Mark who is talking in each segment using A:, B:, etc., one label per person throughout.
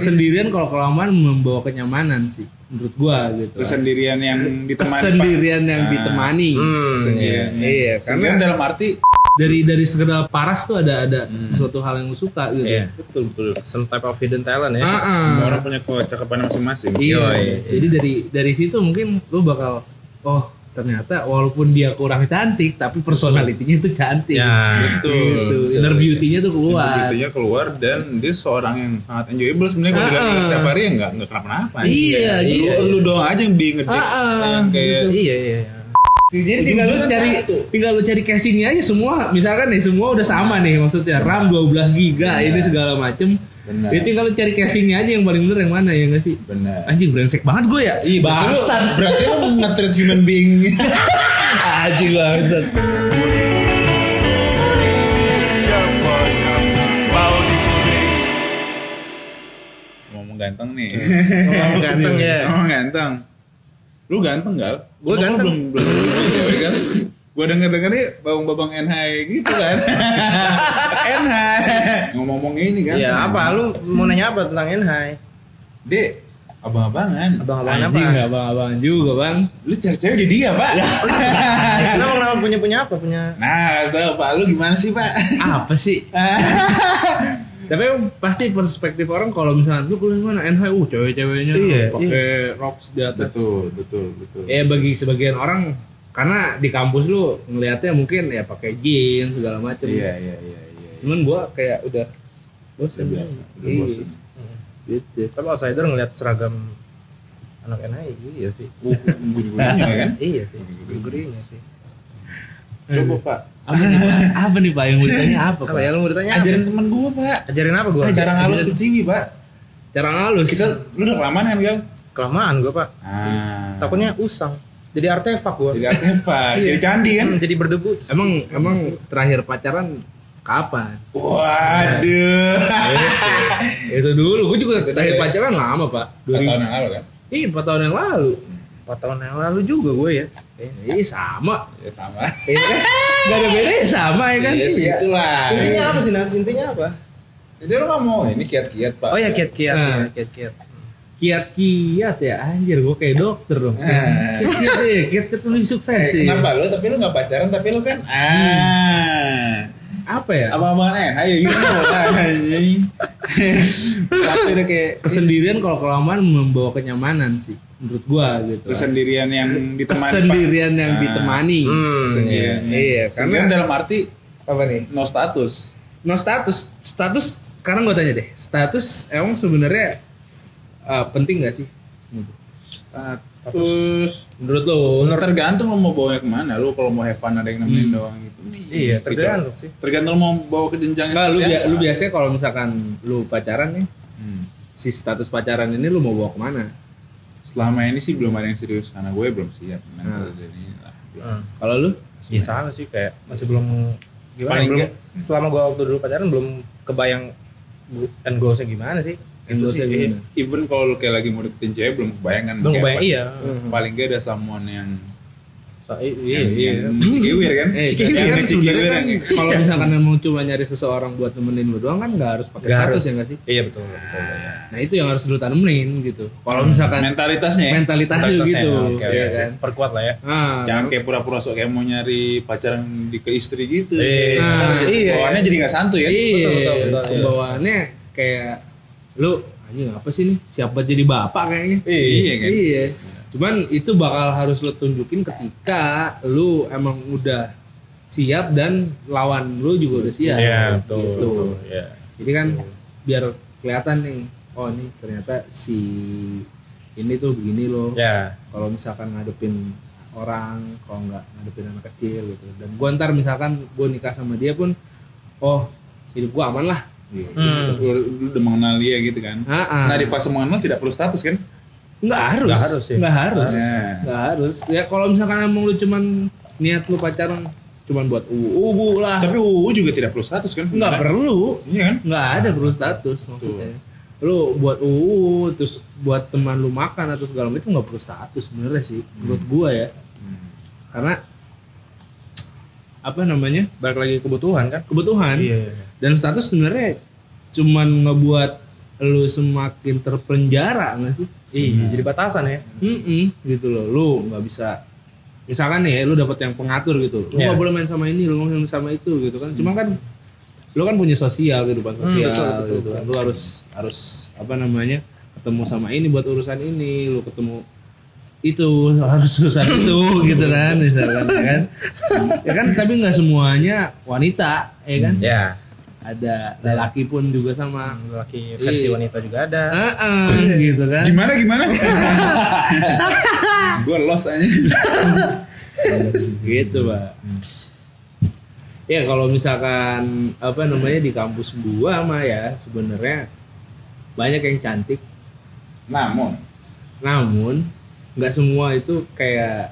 A: kesendirian kalau kelamaan membawa kenyamanan sih menurut gua gitu
B: kesendirian yang ditemani
A: kesendirian yang ditemani
B: Kesendirian.
C: iya,
B: karena
C: karena
B: dalam arti
A: Hmm. dari dari sekedar paras tuh ada ada sesuatu hal yang lu suka gitu
C: Iya, betul betul. Some type of hidden talent ya.
A: Ah, ah.
B: semua orang punya kecakapan masing-masing
A: Iya.
C: Yoi.
A: Jadi dari dari situ mungkin lu bakal oh ternyata walaupun dia kurang cantik tapi personalitinya itu cantik.
C: Ya,
B: betul.
A: Gitu. Inner beauty-nya tuh keluar.
B: Begitunya keluar dan dia seorang yang sangat enjoyable sebenarnya kalau
A: Ah,
B: diganggu
A: ah.
B: setiap hari ya nggak nggak kenapa-napa.
A: Iya,
B: Lu,
A: iya.
B: lu doang aja yang bingung
A: Ah, ah,
B: kayak
C: Iya, iya.
A: Jadi tinggal lu
B: Ujung-ujungnya
A: cari
B: satu.
A: tinggal lu cari casingnya aja semua misalkan nih semua udah sama nih maksudnya RAM 12 giga ini segala macem.
B: Iya. Benar.
A: Jadi tinggal lu cari casingnya aja yang paling bener yang mana ya nggak sih?
B: benar.
A: Anjing brengsek banget gue ya.
B: Iya, berarti lu-
A: bangsat.
B: Berarti lu nge-treat human being.
A: Anjing bangsat.
B: Ngomong ganteng nih.
C: Ngomong ganteng ya.
B: Ngomong ganteng. Lu ganteng nggak?
C: Gua
B: Emang lu
C: ganteng.
B: Belum belum belum cewek kan? Gua denger dengernya babang-babang NH gitu kan. NH. Ngomong-ngomong ini kan.
C: Iya, apa lu mau nanya apa tentang Enhai?
B: Dek, abang-abangan.
C: Abang-abang apa?
A: Anjing nggak abang-abang juga bang.
B: Lu cari cewek di dia, Pak.
C: Kenapa kenapa punya punya apa punya?
B: Nah, tahu Pak, lu gimana sih, Pak?
A: Apa sih? Tapi pasti perspektif orang kalau misalnya lu kuliah mana NH uh cewek-ceweknya
C: Iya,
A: pakai rocks di atas.
B: betul, betul, betul.
A: Ya bagi sebagian orang karena di kampus lu ngelihatnya mungkin ya pakai jeans segala macem.
B: Iya, iya, iya, iya.
A: Cuman gua kayak udah bosan.
B: Udah biasa, udah
A: Iya.
B: bosen.
A: Gitu.
C: Tapi outsider ngeliat seragam anak Enhai iya sih.
B: Uh, gurih-gurihnya kan?
C: Iya sih. Gurinya sih.
B: Coba, Pak.
A: Apa nih Pak? Apa nih Pak yang mau ditanya apa
C: Apa
A: Pak?
C: ya lu mau ditanya? apa?
B: Ajarin temen gua, Pak.
C: Ajarin apa gua?
B: Cara halus kucingi, Pak.
A: Cara ngalus.
B: Kita lu udah kelamaan kan, Gal?
C: Kelamaan gua, Pak.
B: Ah.
C: Takutnya usang. Jadi artefak gua.
B: jadi artefak,
C: Iya.
B: jadi candi kan?
C: Hmm, Jadi berdebu.
A: emang emang terakhir pacaran kapan?
B: Waduh.
A: Itu dulu. Gua juga terakhir
B: ya.
A: pacaran lama Pak.
B: Dua tahun yang lalu kan?
A: Ih, 4 tahun yang lalu.
C: 4 tahun yang lalu juga gua ya. Eh,
A: Ih, sama.
B: Ya sama.
A: Iya kan? Gak ada bedanya sama ya kan?
B: Ya segitulah.
C: Intinya apa sih Nas? Intinya apa?
B: Jadi lu nggak mau ini kiat-kiat, Pak.
C: Oh ya kiat-kiat,
A: Ah.
C: ya, kiat-kiat.
A: Kiat-kiat ya, anjir gue kayak dokter dong.
B: Ah.
A: Kiat-kiat ya, kiat-kiat lebih sukses
B: Eh,
A: sih.
B: kenapa lu tapi lu nggak pacaran tapi lu kan ah
A: Apa ya?
B: abang-abangan eh ayo gitu lah, anjing tapi udah kayak
A: Kesendirian kalau kelamaan membawa kenyamanan sih, menurut gua gitu.
B: kesendirian yang ditemani
A: Kesendirian yang
B: Ah.
A: ditemani.
B: Kesendirian.
A: Iya,
B: karena
A: karena
B: dalam arti
A: apa nih?
B: no status
A: No Nah, status, status. Sekarang gua tanya deh, status emang sebenarnya eh, penting gak sih?
B: status
A: Menurut lo?
B: tergantung lo mau bawanya kemana lu kalau mau have fun ada yang nemenin
A: Hmm.
B: doang gitu
C: Iya, tergantung sih.
B: tergantung lo mau bawa ke jenjang
A: Enggak, lu,
B: seperti
A: bia-
B: apa.
A: lu biasanya kalau misalkan lu pacaran nih,
B: Hmm.
A: si status pacaran ini lu mau bawa kemana?
B: selama ini sih belum ada yang serius karena gue belum siap mental dan ini lah.
C: Hmm.
A: Kalau lu?
C: Iya sama sih kayak masih belum gimana
B: Paling
C: belum
B: nggak-
C: selama gua waktu dulu pacaran belum kebayang go- end goals-nya gimana sih.
A: End
C: Itu
A: goals-nya
C: sih,
A: gimana?
C: iya.
B: even kalau lu kayak lagi mau deketin cewek belum kebayangan
C: Belum
B: kayak
C: kebayang
B: apa.
C: iya.
B: paling gak ada someone yang
C: So- i- Iya,
B: yang,
C: iya.
B: yang cikiwir kan
A: Eh,
C: Cikiwir
A: yang
B: kan
A: sebenarnya
B: cikiwir
A: kan
B: yang-
A: kalau misalkan emang cuma nyari seseorang buat nemenin lu doang kan nggak harus pakai
C: Nggak
A: status
C: harus.
A: ya nggak sih?
C: Iya betul. betul, iya.
A: Nah itu yang harus lu tanemin gitu. Kalau misalkan
B: mentalitasnya ya?
A: mentalitas lu
C: Prioritasnya,
A: gitu,
C: Eh, oke,
A: ya
C: oke.
A: kan?
C: Perkuat lah ya.
A: Ah,
B: jangan kayak pura-pura sok kayak mau nyari pacaran di ke istri gitu Ntar
C: Iya.
A: Nah,
C: iya.
B: bawaannya jadi gak santuy kan
A: iya,
C: Betul, betul, betul, iya.
A: pembawaannya kayak lu anjing apa sih nih? Siapa jadi bapak kayaknya?
B: Iya, kan?
A: Iya. Cuman itu bakal harus lo tunjukin ketika lu emang udah siap dan lawan lu juga udah siap.
C: Iya, betul.
A: Gitu.
C: Iya.
A: Jadi kan biar kelihatan nih, oh ini ternyata si ini tuh begini loh.
C: Ya.
A: Kalau misalkan ngadepin orang, kalau nggak ngadepin anak kecil gitu. Dan gua ntar misalkan gua nikah sama dia pun, oh hidup gua aman lah.
B: Iya.
C: Hmm.
B: Lu, lu udah mengenal dia gitu kan
A: Ah, ah.
B: nah di fase mengenal tidak perlu status kan
A: Nggak harus.
C: Nggak harus sih.
A: Nggak harus.
B: Nah.
A: Nggak harus. Ya kalau misalkan emang lu cuman niat lu pacaran cuman buat ubu
C: Ah.
A: lah.
B: tapi UU juga tidak perlu status kan
A: Nggak perlu.
B: iya kan
A: Nggak ada perlu status maksudnya. Lu buat uu terus buat teman lu makan atau segala macam itu nggak perlu status sebenarnya sih menurut gua ya. Karena apa namanya?
C: Balik lagi kebutuhan kan?
A: kebutuhan
C: Iya. iya, iya.
A: dan status sebenarnya cuman ngebuat lu semakin terpenjara nggak sih?
C: Iya, jadi batasan ya.
A: Mm-mm, gitu loh, lu nggak bisa misalkan nih ya, lu dapat yang pengatur gitu, lu
C: Iya. Hmm.
A: nggak boleh main sama ini, lu nggak boleh main sama itu gitu kan, cuma kan lu kan punya sosial kehidupan sosial
C: betul, betul,
A: gitu kan, lu harus harus apa namanya ketemu sama ini buat urusan ini, lu ketemu itu harus urusan itu gitu kan misalkan ya kan, ya kan tapi nggak semuanya wanita ya kan,
C: Ya,
A: ada lelaki pun juga sama,
C: laki versi
A: Iya.
C: wanita juga ada.
A: Heeh, gitu kan,
B: Gimana gimana? gue lost aja.
A: gitu pak ya kalau misalkan apa namanya di kampus gua mah ya sebenarnya banyak yang cantik
B: Namun,
A: namun nggak semua itu kayak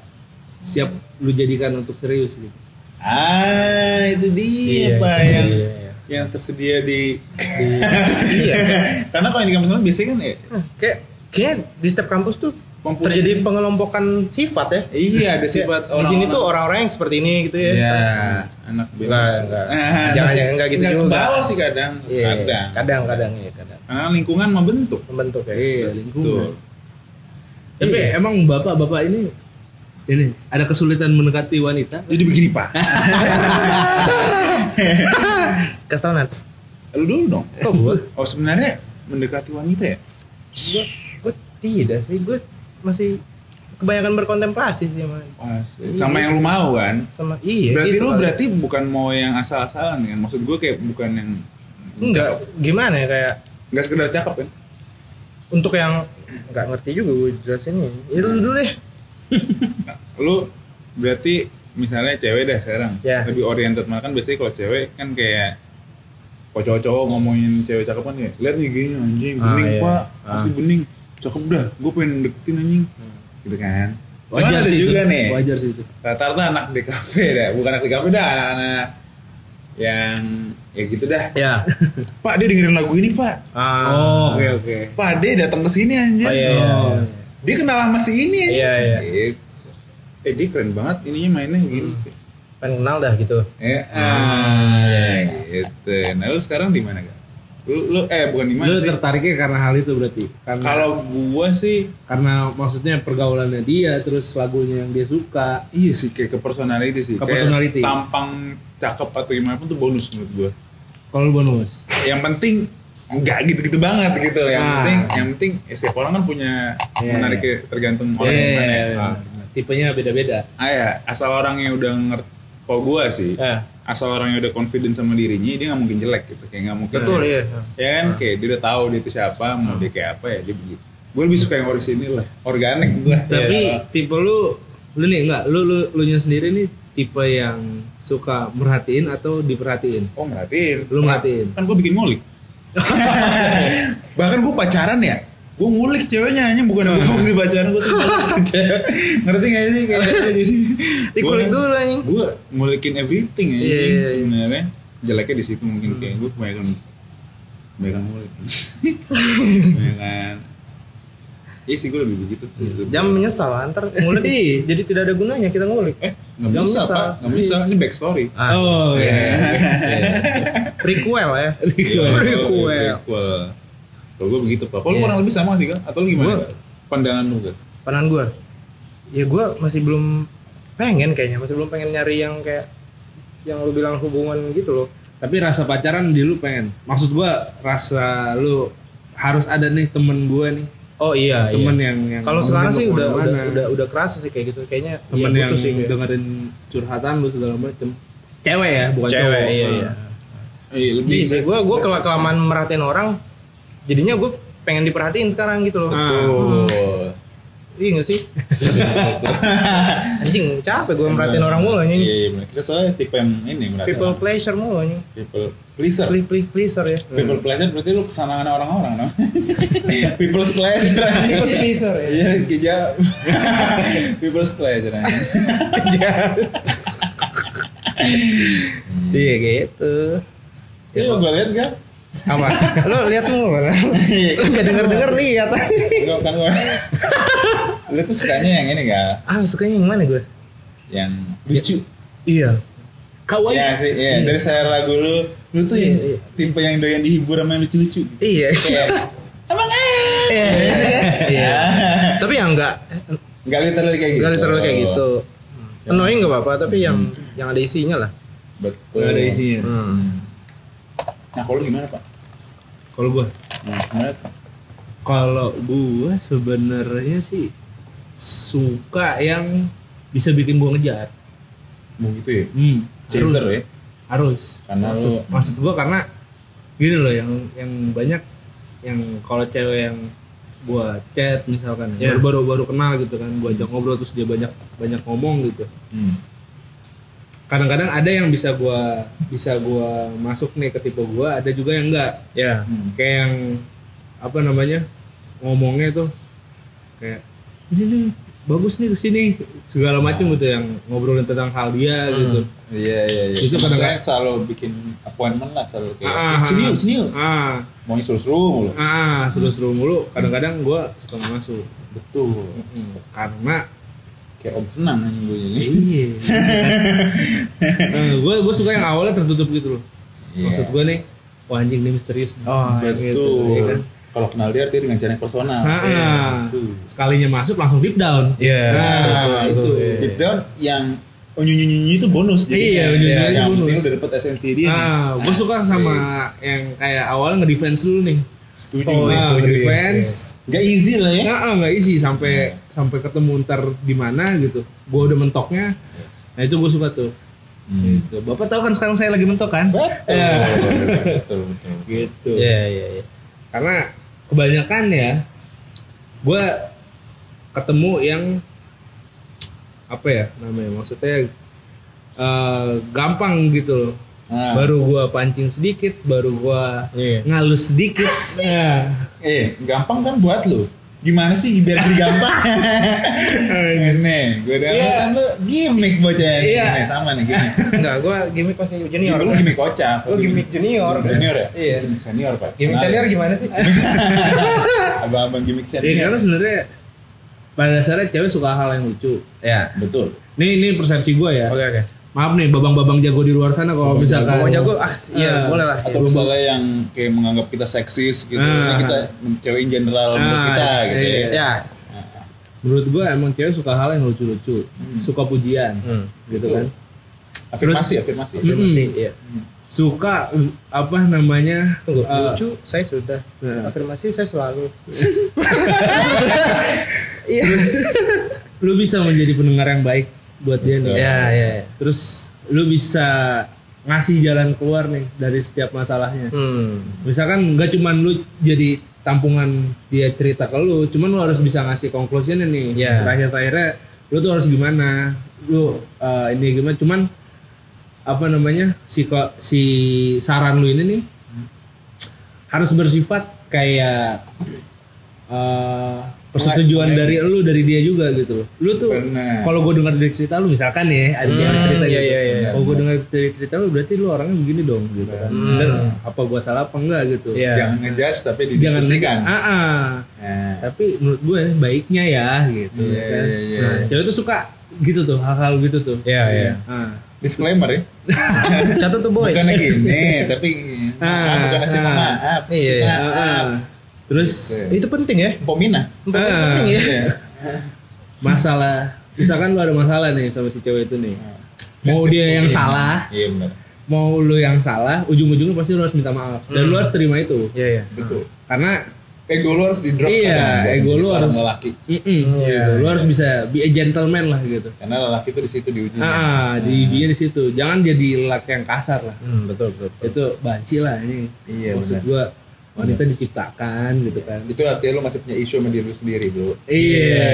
A: siap lu jadikan untuk serius gitu
B: ah itu dia pak yang yang tersedia di
C: iya.
B: karena kalau yang di kampus kampus biasanya kan ya
A: Nah.
C: Kayak kayak di setiap kampus tuh
B: Komponen.
C: terjadi pengelompokan sifat ya.
B: iya ada sifat
C: Di sini tuh orang-orang yang seperti ini gitu ya.
B: ya anak BEM.
C: Enggak, enggak.
B: Ah,
C: Jangan, jangan, enggak gitu
B: enggak ke
C: juga.
B: bawah sih kadang
C: Iya,
B: kadang
C: kadang kadang ya kadang
B: karena lingkungan membentuk
C: membentuk ya.
A: iya
B: Betul. Iya.
A: lingkungan tapi emang bapak-bapak ini ini ada kesulitan mendekati wanita
B: jadi begini pak
C: Kasih tau Nats.
B: lu dulu dong
C: Kok gue?
B: oh sebenarnya mendekati wanita ya
C: gue gue tidak sih gue masih kebanyakan berkontemplasi sih man.
B: Oh, sama yang lu mau kan
C: sama iya
B: berarti
C: gitu
B: lu
C: kali.
B: berarti bukan mau yang asal-asalan kan maksud gue kayak bukan yang
C: enggak gimana ya kayak
B: nggak sekedar cakep kan
C: untuk yang nggak ngerti juga gue jelasinnya ya lu dulu deh
B: lu berarti misalnya cewek dah sekarang
C: Ya.
B: lebih oriented malah kan biasanya kalau cewek kan kayak kalau cowok-cowok ngomongin cewek cakep kan ya lihat nih gini anjing
C: Ah,
B: bening
C: iya.
B: pak
C: Ah. Hmm.
B: pasti bening cakep dah gue pengen deketin anjing gitu kan Cuman ada
A: sih
B: juga
A: itu
B: nih
A: wajar sih itu
B: rata-rata anak DKV dah bukan anak DKV dah anak-anak yang ya gitu dah
C: ya
B: pak dia dengerin lagu ini pak
A: oh
C: ah
A: oke oke
B: pak dia datang ke sini anjing
C: oh iya iya
A: Oh.
B: dia kenal sama si ini anjing.
C: Iya, iya.
B: Eh, eh dia keren banget ininya mainnya gini
C: pengen kenal dah gitu
B: Eh, ah, gitu. Nah, lu sekarang di mana, Kak? Lu, lu eh bukan di mana
A: lu
B: sih?
A: tertariknya karena hal itu berarti karena
B: Kalau gua sih
A: karena maksudnya pergaulannya dia terus lagunya yang dia suka
B: iya sih kayak ke personality sih.
A: Ke
B: Kayak
A: personality.
B: Tampang cakep atau gimana pun tuh bonus menurut gua.
A: kalau bonus
B: Yang penting enggak gitu-gitu banget gitu. Yang
A: Ah.
B: penting yang penting eh, setiap orang kan punya
A: Iya,
B: menarik tergantung orang yang mana.
A: Eh,
B: Ah.
A: tipenya beda-beda
B: Ah, ya, asal orangnya udah ngerti kalau gua sih.
A: Iya.
C: ya
B: Asal orangnya udah confident sama dirinya, dia nggak mungkin jelek gitu. Kayak nggak mungkin
C: betul iya
B: ya kan
A: Ah.
B: kayak dia udah tahu dia itu siapa mau dia kayak apa ya dia begitu gue lebih suka yang orisinil lah organik gue
A: tapi tipe lu lu nih enggak lu lu lu nya sendiri nih tipe yang suka merhatiin atau diperhatiin
B: oh merhatiin
A: lu merhatiin
B: kan gue bikin ngulik bahkan gue pacaran ya gue ngulik ceweknya hanya bukan gue fokus di pacaran gue tuh ngulik ke cewek ngerti gak sih kayak gitu, jadi
C: dikulik dulu anjing
B: gue ngulikin everything ya
C: Iya, iya, iya.
B: sebenarnya jeleknya di situ mungkin kayak gue kebanyakan kebanyakan ngulik kebanyakan Iya sih gue lebih begitu sih.
C: Iya. jam menyesal antar ngulik
A: Iya.
C: jadi tidak ada gunanya kita ngulik
B: Eh, nggak
C: Nggak
B: bisa,
C: bisa.
B: Pak. Nggak bisa. Ini backstory.
C: Iya. ah.
A: oh iya
C: prequel ya
B: Iya,
C: Prequel.
B: Prequel. Kalau gue begitu, Pak. Kalau lu
C: Iya.
B: kurang lebih sama sih, kan? Atau lu gimana?
C: Gua-
B: Kak? Pandangan lu, kan?
C: pandangan gue ya gue masih belum pengen kayaknya masih belum pengen nyari yang kayak yang lu bilang hubungan gitu loh
A: tapi rasa pacaran di lu pengen maksud gua rasa lu harus ada nih temen gua nih
C: oh iya
A: temen yang, yang
C: kalau sekarang sih udah,
A: kemana-mana.
C: udah udah udah kerasa sih kayak gitu kayaknya
A: temen
C: iya,
A: yang
C: butuh sih kayak.
A: dengerin curhatan lu segala macem cewek ya bukan
C: cewek
A: cowok
C: iya iya
B: Eh, lebih.
C: bisa gue gue kelak kelamaan merhatiin orang jadinya gue pengen diperhatiin sekarang gitu loh
A: Ah.
B: Oh.
C: iya gak sih anjing capek gue merhatiin orang mulu
B: Iya,
C: anjing
B: iya, bener. Kita soalnya tipe yang ini, berarti.
C: people pleasure mulu anjing
B: People pleaser.
C: please please pleaser ya
B: People pleaser berarti lu kesenangan orang-orang, no? People's pleasure. anjing.
C: people Iya. pleaser ya
B: Iya, kejam. People's pleasure. anjing.
C: iya gitu
B: Ini lo gue liat kan?
C: apa lo lihat mulu kan lo nggak denger denger lihat
B: Enggak kan gue. Lu tuh sukanya yang ini, gak?
C: ah sukanya yang mana gue
B: Yang lucu.
C: iya
A: kawaii.
B: Ya sih, ya. Dari saya lagu lu, lu tuh
A: Iya,
B: yang
A: Oh, iya.
B: tipe yang doyan dihibur sama yang lucu-lucu.
A: Iya.
B: Kayak, Emang eh.
C: Iya. tapi yang enggak
B: Gak literally kayak gitu.
C: enggak literally kayak gitu. Annoying enggak apa-apa, tapi yang yang ada isinya lah.
B: Betul.
A: Gak ada isinya.
C: Hmm.
B: Nah, kalau lu gimana, Pak?
A: Kalau gua,
B: Nah, gimana, Pak?
A: kalau gua sebenarnya sih suka yang bisa bikin gua ngejar.
B: Mau gitu ya?
A: Hmm.
B: Chaser ya?
A: harus
B: Karena
A: maksud,
B: lu-
A: maksud gua karena gini loh yang yang banyak yang kalau cewek yang gua chat misalkan
C: Iya.
A: baru baru kenal gitu kan gua ajak ngobrol terus dia banyak banyak ngomong gitu
B: Hmm.
A: kadang-kadang ada yang bisa gua bisa gua masuk nih ke tipe gua ada juga yang enggak
C: Ya.
B: Hmm.
A: kayak yang apa namanya ngomongnya tuh kayak ini nih bagus nih kesini segala
B: Ya.
A: macam gitu yang ngobrolin tentang hal dia gitu
B: Iya, iya, iya.
A: Itu
B: Itu kadang
A: kadang-
B: selalu bikin appointment lah, selalu kayak,
A: Ah,
B: "Eh, sini yuk, sini yuk.
A: ah
B: Mau suruh-suruh mulu.
A: Ah, seru-seru mulu. Kadang-kadang gua suka nggak masuk
B: Betul.
A: karena
B: Kayak om senang nih gue ini.
A: iya. gue gue suka yang awalnya tertutup gitu loh.
B: Iya.
A: Maksud gue nih, wah anjing ini misterius. Nih.
C: Oh,
A: Gitu, ya kan?
B: Betul. Kalau kenal dia artinya dengan cara yang personal.
A: Ah,
B: Iya,
A: ah.
B: betul.
A: sekalinya masuk langsung deep down.
C: Iya.
A: Nah, itu.
B: Deep down kan yang unyu-unyu itu bonus.
A: Iya,
B: Iya,
A: unyu-unyu itu
B: Yang penting
A: bonus.
B: udah dapet esensi dia. nih.
A: Nah, gue suka sama yang kayak awalnya ngedefense dulu nih.
B: Setuju.
C: Oh, iya,
A: nah,
C: setuju,
A: ngedefense.
B: Gak easy lah ya.
A: Nggak, ah, nggak isi sampai sampai ketemu ntar di mana gitu. Gue udah mentoknya. Nah itu gue suka tuh.
B: Hmm.
A: Gitu. Bapak tahu kan sekarang saya lagi mentok kan?
B: Betul.
A: Iya.
B: Betul, betul.
A: Gitu.
C: Iya, iya, iya.
A: Karena kebanyakan ya, gue ketemu yang apa ya namanya? Maksudnya eh, gampang gitu loh.
B: Nah,
A: Baru gue pancing sedikit, baru gue
C: Iya.
A: ngalus sedikit. Nah,
B: eh, gampang kan buat lu. Gimana sih biar jadi gampang? Nih, gue udah
A: Iya.
B: kan lu gimmick bocah.
A: Iya.
B: Nih, sama nih gimmick.
C: Enggak, gua gimmick masih junior.
B: Lu gimmick kocak.
C: Gua gimmick junior.
B: Junior ya?
C: Iya.
B: Gimmick senior, Pak. Kenal
C: Gimmick
B: ya?
C: senior gimana sih?
B: Abang-abang gimmick
A: ya karena
B: senior.
A: sebenarnya pada dasarnya cewek suka hal yang lucu.
C: Ya.
B: Betul.
A: Nih ini persepsi gue ya.
C: Oke, oke.
A: Maaf nih babang-babang jago di luar sana kalau misalkan.
C: Pokoknya gua ah, iya,
A: Ah.
C: boleh lah.
B: atau misalnya yang kayak menganggap kita seksis gitu
A: Ah.
B: Ini kita cewek in general menurut
A: Ah,
B: kita gitu
A: iya.
B: ya.
C: Ya.
A: Menurut gue emang cewek suka hal yang lucu-lucu, suka pujian,
C: Hmm.
A: gitu
B: Betul.
A: kan.
B: afirmasi
A: Terus-
B: afirmasi
A: Hmm.
C: Afirmasi, iya.
A: Suka uh, apa namanya?
C: Tunggu,
A: uh,
C: lucu saya sudah.
A: Nah.
C: Afirmasi saya selalu. Iya.
A: lu bisa menjadi pendengar yang baik buat dia nih.
B: Betul.
C: Ya, ya. ya.
A: Terus lu bisa ngasih jalan keluar nih dari setiap masalahnya.
C: Hmm.
A: Misalkan nggak cuman lu jadi tampungan dia cerita ke lu, cuman lu harus bisa ngasih conclusion nih.
C: Iya.
A: Terakhir-terakhirnya lu tuh harus gimana? Lu eh, ini gimana? Cuman apa namanya? Si ko- si saran lu ini nih harus bersifat kayak eh, persetujuan dari lu dari dia juga gitu loh. Lu tuh
B: Benar.
A: kalau gue dengar dari cerita lu misalkan ya ada yang cerita
C: iya,
A: gitu.
C: iya, iya.
A: Kalau gue dengar dari cerita lu berarti lu orangnya begini dong gitu kan.
C: Hmm.
A: Bener, apa gua salah apa enggak gitu.
C: Iya.
B: jangan ngejudge tapi
A: Jangan
B: didiskusikan
A: Ah, ah.
B: nah,
A: Tapi menurut gue baiknya ya gitu
B: Iya,
A: kan.
B: iya, iya.
A: Nah, cewek tuh suka gitu tuh hal-hal gitu tuh.
C: Ya, ya.
A: Ah.
B: disclaimer ya
C: Catat tuh, boys.
B: bukan gini tapi
A: Ah,
B: ah, bukan nasi
A: ah.
B: maaf
C: Iya, iya.
A: Ah, ah. Terus
B: Iya,
C: Itu penting ya.
B: pomina Iya.
A: ah,
C: Penting ya.
A: masalah misalkan lu ada masalah nih sama si cewek itu nih. Mau
B: That's it.
A: dia yang
B: Iya.
A: salah,
B: iya benar
A: mau lu yang salah, ujung-ujungnya pasti lu harus minta maaf dan
B: Hmm.
A: lu harus terima itu. Gitu.
C: Iya, iya.
B: betul
A: Karena
B: ego lu harus di drop
A: Iya, ego lu harus-
B: lelaki
A: Mm-mm,
B: iya,
A: gitu. Lu harus bisa be a gentleman lah gitu.
B: karena lelaki itu di situ diuji
A: Ah, di dia di situ. Jangan jadi lelaki yang kasar lah.
C: Hmm, betul, betul. betul.
A: Itu banci lah ini.
B: Iya,
A: Maksud
B: benar.
A: gua wanita diciptakan gitu kan.
B: itu artinya lu masih punya isu sama diri lu sendiri bro
A: Iya,
B: Iya,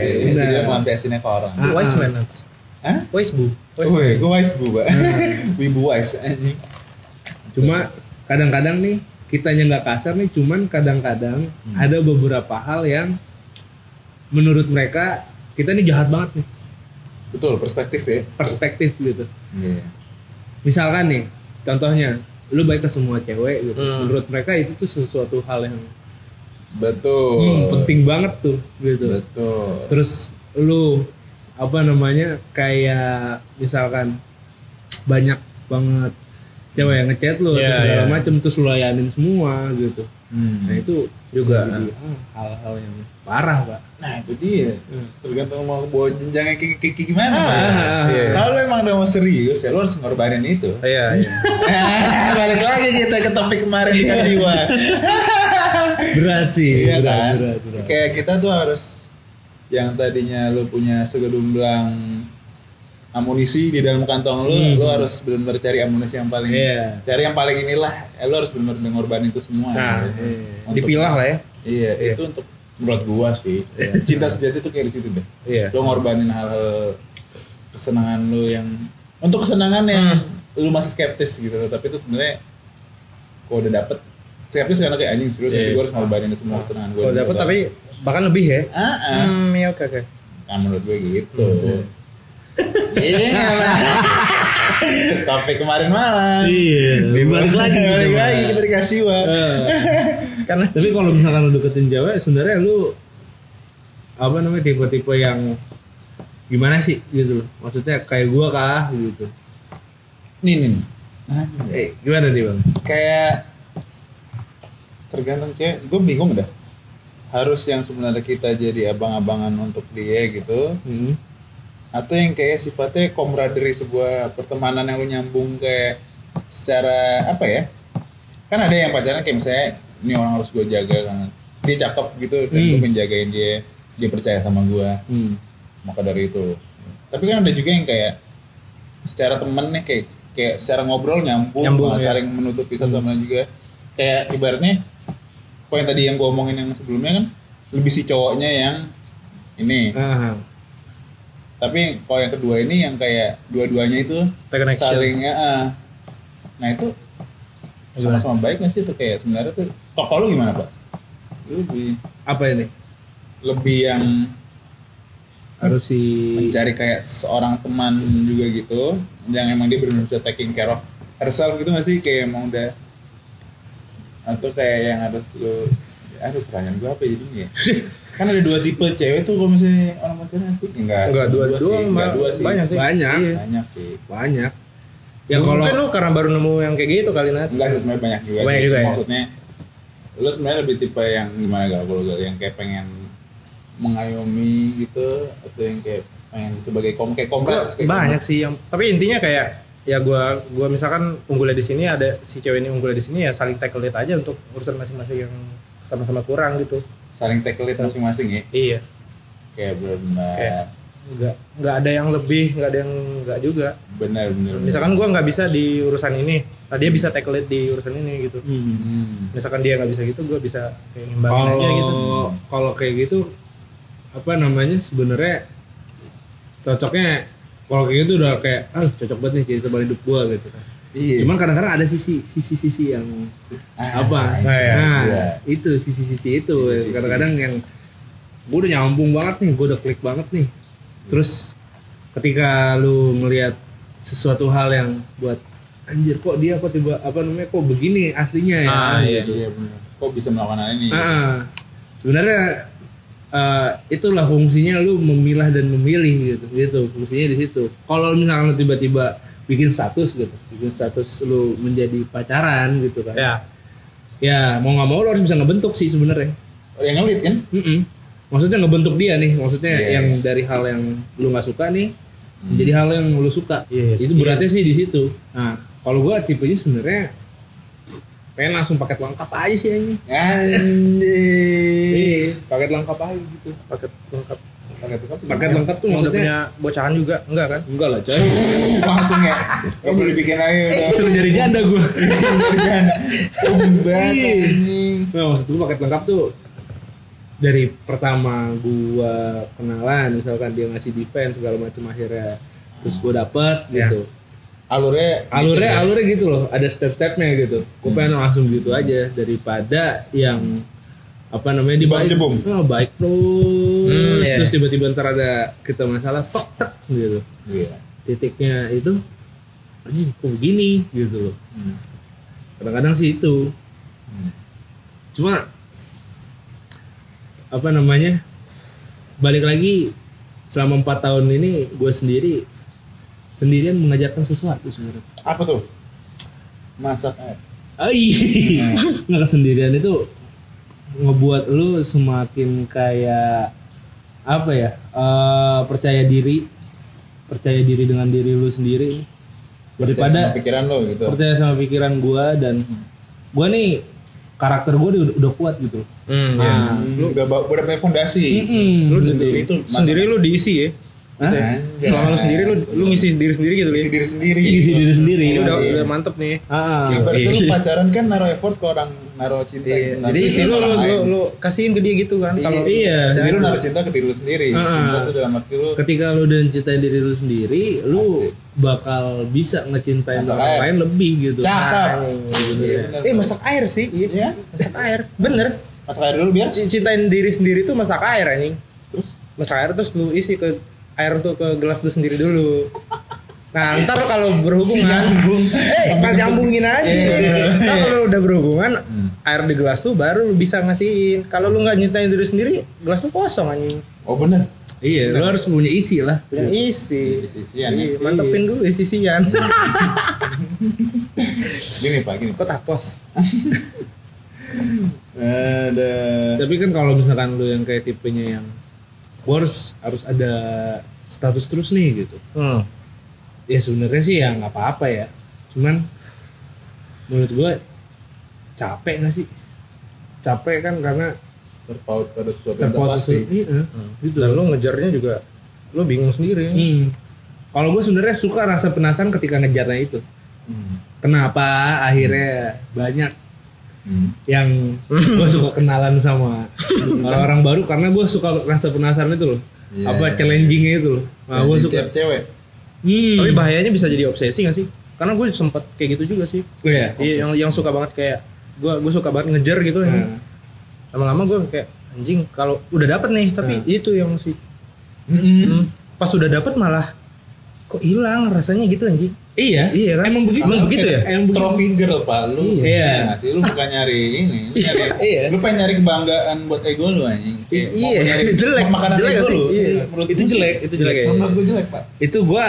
B: sih.
A: benar.
B: Jadi lu ngelampiasinnya ke orang.
A: Ah,
C: Wise
A: ah.
C: man.
B: Hah?
C: Wise bu. Wise.
B: Woi, gue wise bu, Pak.
A: Hmm.
B: Wibu wise anjing.
A: Cuma kadang-kadang nih kitanya nggak kasar nih, cuman kadang-kadang
B: Hmm.
A: ada beberapa hal yang menurut mereka kita nih jahat banget nih
B: Betul, perspektif ya.
A: perspektif gitu.
B: Iya.
A: Misalkan nih contohnya lu baik ke semua cewek gitu.
C: Hmm.
A: Menurut mereka itu tuh sesuatu hal yang
B: Betul.
A: Hmm, penting banget tuh gitu.
B: Betul.
A: Terus lu apa namanya kayak misalkan banyak banget cewek yang ngechat lu
C: Iya,
A: terus segala
C: iya.
A: macem terus lu layanin semua gitu
B: Hmm.
A: nah itu
C: Juga.
A: bisa jadi, ah, hal-hal yang parah pak
B: Nah itu dia. Tergantung mau bawa jenjangnya kayak kayak- kayak
A: Hmm.
B: gimana.
A: Ah,
B: Pak.
A: ah,
B: Iya.
A: ah.
B: Kalau lu emang udah mau serius ya lu harus ngorbanin itu.
C: Iya, iya.
B: Balik lagi kita ke topik kemarin di Kadiwa.
A: berat sih
B: Iya
A: berat,
B: kan?
A: berat, berat.
B: Kayak kita tuh harus yang tadinya lu punya segedumblang amunisi di dalam kantong lu,
A: Hmm.
B: lu harus benar-benar cari amunisi yang paling
A: Iya.
B: cari yang paling inilah, eh, lu harus benar-benar ngorbanin itu semua.
A: Nah,
B: Gitu.
A: iya.
B: Untuk-
C: Dipilah lah ya.
B: Iya, itu untuk menurut gua sih. Cinta sejati tuh kayak di situ deh.
C: Iya.
B: Lu ngorbanin hal kesenangan lu yang untuk kesenangan yang lu masih skeptis gitu, tapi itu sebenarnya kalau udah dapet skeptis karena kayak anjing terus
C: Iya.
B: gua harus ngorbanin semua kesenangan gua.
C: Kalau dapat tapi bahkan lebih ya.
B: ah, ah.
C: Hmm, iya oke oke.
B: Nah, menurut gue gitu. Iya, Pak. Topik kemarin malam.
A: Iya, balik lagi gitu, Eh.
B: Balik
A: Pak.
B: lagi kita dikasih wa.
C: Karena
A: tapi kalau misalkan lu deketin cewek sebenarnya lu apa namanya tipe-tipe yang gimana sih gitu loh maksudnya kayak gua kah gitu
B: Nih, nih. nih. Anjing.
A: eh gimana nih bang
B: kayak tergantung cewek gue bingung dah harus yang sebenarnya kita jadi abang-abangan untuk dia gitu
A: hmm.
B: atau yang kayak sifatnya komraderi sebuah pertemanan yang lu nyambung kayak secara apa ya kan ada yang pacaran kayak misalnya ini orang harus gue jaga kan dia cakep gitu dan gue
A: Hmm.
B: menjagain dia dia percaya sama gue
A: Hmm.
B: maka dari itu tapi kan ada juga yang kayak secara temennya kayak kayak secara ngobrol nyambung,
A: Nyambung,
B: malah
A: ya.
B: saling menutupi satu sama lain juga kayak ibaratnya poin tadi yang gue omongin yang sebelumnya kan lebih si cowoknya yang ini
A: Ah,
B: tapi kalau yang kedua ini yang kayak dua-duanya itu
C: Terconnection.
B: saling ya, ah. nah itu sama-sama baik nggak sih itu kayak sebenarnya tuh toko lu gimana pak Lu lebih
A: apa ini
B: lebih yang
A: harus si
B: mencari kayak seorang teman juga gitu yang emang dia benar-benar bisa taking care of herself gitu gak sih kayak emang udah atau kayak yang harus lu aduh pertanyaan gua apa jadinya ya kan ada dua tipe cewek tuh kalau misalnya orang pacaran asik enggak
C: Enggak, dua- doang,
B: enggak
C: Mbak.
B: dua sih
C: Banyak sih.
A: banyak
C: Iya.
B: banyak sih
A: banyak ya
C: mungkin
A: kalau
C: kan lu karena baru nemu yang kayak gitu kali Nats.
B: enggak sih sebenarnya banyak juga
C: Banyak
B: sih.
C: juga ya?
B: maksudnya lu sebenarnya lebih tipe yang gimana gak kalau gak yang kayak pengen mengayomi gitu atau yang kayak pengen sebagai kom kayak kompres kayak
C: banyak sih yang tapi intinya kayak ya gua gua misalkan unggulnya di sini ada si cewek ini unggulnya di sini ya saling tackle it aja untuk urusan masing-masing yang sama-sama kurang gitu.
B: saling tackle it masing-masing ya
C: Iya.
B: kayak benar-benar
C: Kayak. Enggak enggak ada yang lebih, enggak ada yang enggak juga.
B: benar-benar
C: Misalkan gua nggak bisa di urusan ini, nah dia bisa tackle it di urusan ini gitu.
A: Hmm.
B: Hmm.
C: Misalkan dia nggak bisa gitu, gua bisa kayak ngimbangin
A: kalau
C: aja gitu.
A: kalau kayak gitu apa namanya sebenarnya cocoknya kalau kayak gitu udah kayak ah cocok banget nih jadi teman hidup gua gitu kan
B: iya
A: cuman kadang-kadang ada sisi sisi sisi yang
B: Ah,
A: apa
C: nah, iya.
A: nah
B: Iya.
A: itu sisi sisi itu
B: Sisi-sisi.
A: kadang-kadang yang gue udah nyambung banget nih gue udah klik banget nih terus ketika lu ngelihat sesuatu hal yang buat anjir kok dia kok tiba apa namanya kok begini aslinya ya
C: Ah,
B: iya iya benar kok bisa melakukan hal ini
A: Ah, sebenarnya eh, itulah fungsinya lu memilah dan memilih gitu gitu fungsinya di situ kalau misalkan lu tiba-tiba bikin status gitu bikin status lu menjadi pacaran gitu kan
C: Ya.
A: ya mau nggak mau lu harus bisa ngebentuk sih sebenarnya
B: Oh, yang ngelit kan
A: Mm-mm. maksudnya ngebentuk dia nih maksudnya
B: Iya,
A: yang dari hal yang lu nggak suka nih menjadi hal yang lu suka
C: Yes.
A: itu beratnya sih di situ nah kalau gua tipenya sebenarnya pengen langsung paket lengkap aja sih ini
B: anjir
A: paket lengkap aja gitu
C: Paket lengkap.
B: paket lengkap
A: paket lengkap tuh
C: Maksudnya
A: maksudnya
C: punya bocahan juga, enggak kan?
A: enggak lah coy
B: langsung ya nggak perlu dibikin aja udah
A: suruh jadi janda gue
B: Tumben banget anjing
A: nah maksud gue paket lengkap tuh dari pertama gua kenalan misalkan dia ngasih defense segala macam akhirnya terus gue dapet
C: Ya.
A: gitu
B: alurnya
A: alurnya
C: Iya.
A: alurnya gitu loh ada step-stepnya gitu gue pengen
C: Hmm.
A: langsung gitu aja daripada yang apa namanya
B: Jebak
A: dibaik
B: jebung.
A: oh, baik terus
C: Hmm, iya.
A: terus tiba-tiba ntar ada kita masalah tok tek gitu
B: iya
A: titiknya itu anjing kok begini gitu loh
B: Hmm.
A: kadang-kadang sih itu
B: Hmm.
A: cuma apa namanya balik lagi selama empat tahun ini gue sendiri sendirian mengajarkan sesuatu sebenarnya.
B: Apa tuh? Masak eh, air.
A: Ay, nggak kesendirian itu ngebuat lu semakin kayak apa ya eh, percaya diri percaya diri dengan diri lu sendiri
B: Percaya sama
A: daripada
B: pikiran lo gitu.
A: percaya sama pikiran gua dan gua nih karakter gua udah, udah kuat gitu
C: Hmm, iya.
A: nah,
B: Lu udah ba- udah punya fondasi.
A: mm-mm.
C: lu
B: Gitu.
C: sendiri
B: Itu masalah.
C: sendiri lu diisi ya
A: Hah?
B: Iya. Anjay.
C: selama lu sendiri lu lu ngisi diri sendiri gitu
B: Isi
C: ya
B: diri sendiri.
A: Isi diri sendiri.
C: ini udah
B: Iya.
C: udah mantep nih
A: Ah,
B: Ya, berarti lu pacaran kan naruh effort ke orang naruh cinta.
C: Iya,
B: gitu.
C: jadi
B: Naruh
C: isi
B: cinta ke
C: lu lu,
B: orang
C: lu
B: lain.
C: lu kasihin ke dia gitu kan kalau
A: Iya.
B: Jadi lu naruh cinta ke diri lu sendiri.
A: Heeh.
B: Cinta tuh dalam arti lu
A: ketika lu udah cintain diri lu sendiri lu
B: Asik.
A: bakal bisa ngecintain
B: Asal
A: orang
B: air.
A: lain lebih gitu
B: cakep. Iya, bener.
C: eh masak air sih
B: Iya.
C: masak air bener
B: Masak air dulu biar.
C: C- cintain diri sendiri tuh masak air anjing
B: Terus?
C: masak air terus lu isi ke air tuh ke gelas lu sendiri dulu nah ntar kalau berhubungan eh kan nyambungin aja ntar kalau udah berhubungan air di gelas tuh baru lu bisa ngasihin kalau lu nggak nyitain diri sendiri gelas lu kosong anjing
B: Oh bener.
A: iya lu harus punya isi lah
C: yang isi
B: Isi-isian ya.
C: Iya, mantepin dulu isi-isian
B: Gini pak, gini.
C: kok tapos
B: Ada.
A: tapi kan kalau misalkan lu yang kayak tipenya yang gua harus harus ada status terus nih gitu
C: hmm.
A: ya sebenarnya sih ya nggak apa-apa ya cuman menurut gua capek nggak sih capek kan karena
B: Terpaut pada sesuatu yang
A: terpaut
B: tak
A: sesuatu
B: pasti. Hmm.
A: iya, gitu
C: dan lu ngejarnya juga lu bingung sendiri
A: Hmm. Kalau gue sebenarnya suka rasa penasaran ketika ngejarnya itu.
B: Hmm.
A: Kenapa akhirnya banyak
B: Hmm.
A: yang gue suka kenalan sama orang-orang baru karena gue suka rasa penasaran itu loh.
B: Iya,
A: Apa
B: iya.
A: challengingnya itu loh. Nah, gue
B: Jadi
A: suka.
B: Tiap cewek.
A: Hmm.
C: tapi bahayanya bisa jadi obsesi gak sih karena gue sempet kayak gitu juga sih
A: Iya.
C: Iya, yang yang suka banget kayak gue gue suka banget ngejar gitu.
A: Hmm.
C: Lama-lama gue kayak anjing kalau udah dapet nih, tapi itu yang si
B: Hmm.
C: pas udah dapet malah kok hilang rasanya gitu anjing.
A: Iya.
C: Iya kan?
A: Emang begitu.
C: Emang begitu ya?
A: Emang begitu.
B: Trophy girl pak lu.
A: Iya.
B: nggak sih lu bukan nyari ini. Nyari.
A: Iya.
B: Lu pengen nyari kebanggaan buat ego lu anjing. Kayak
C: Iya,
B: mau nyari
C: jelek.
B: Makanan
C: Jelek
B: ego
C: gak sih?
B: lu.
C: Iya.
B: Menurut
A: Itu
B: gua sih.
A: jelek, itu jelek.
C: Iya.
B: Menurut gue jelek pak.
A: Itu gue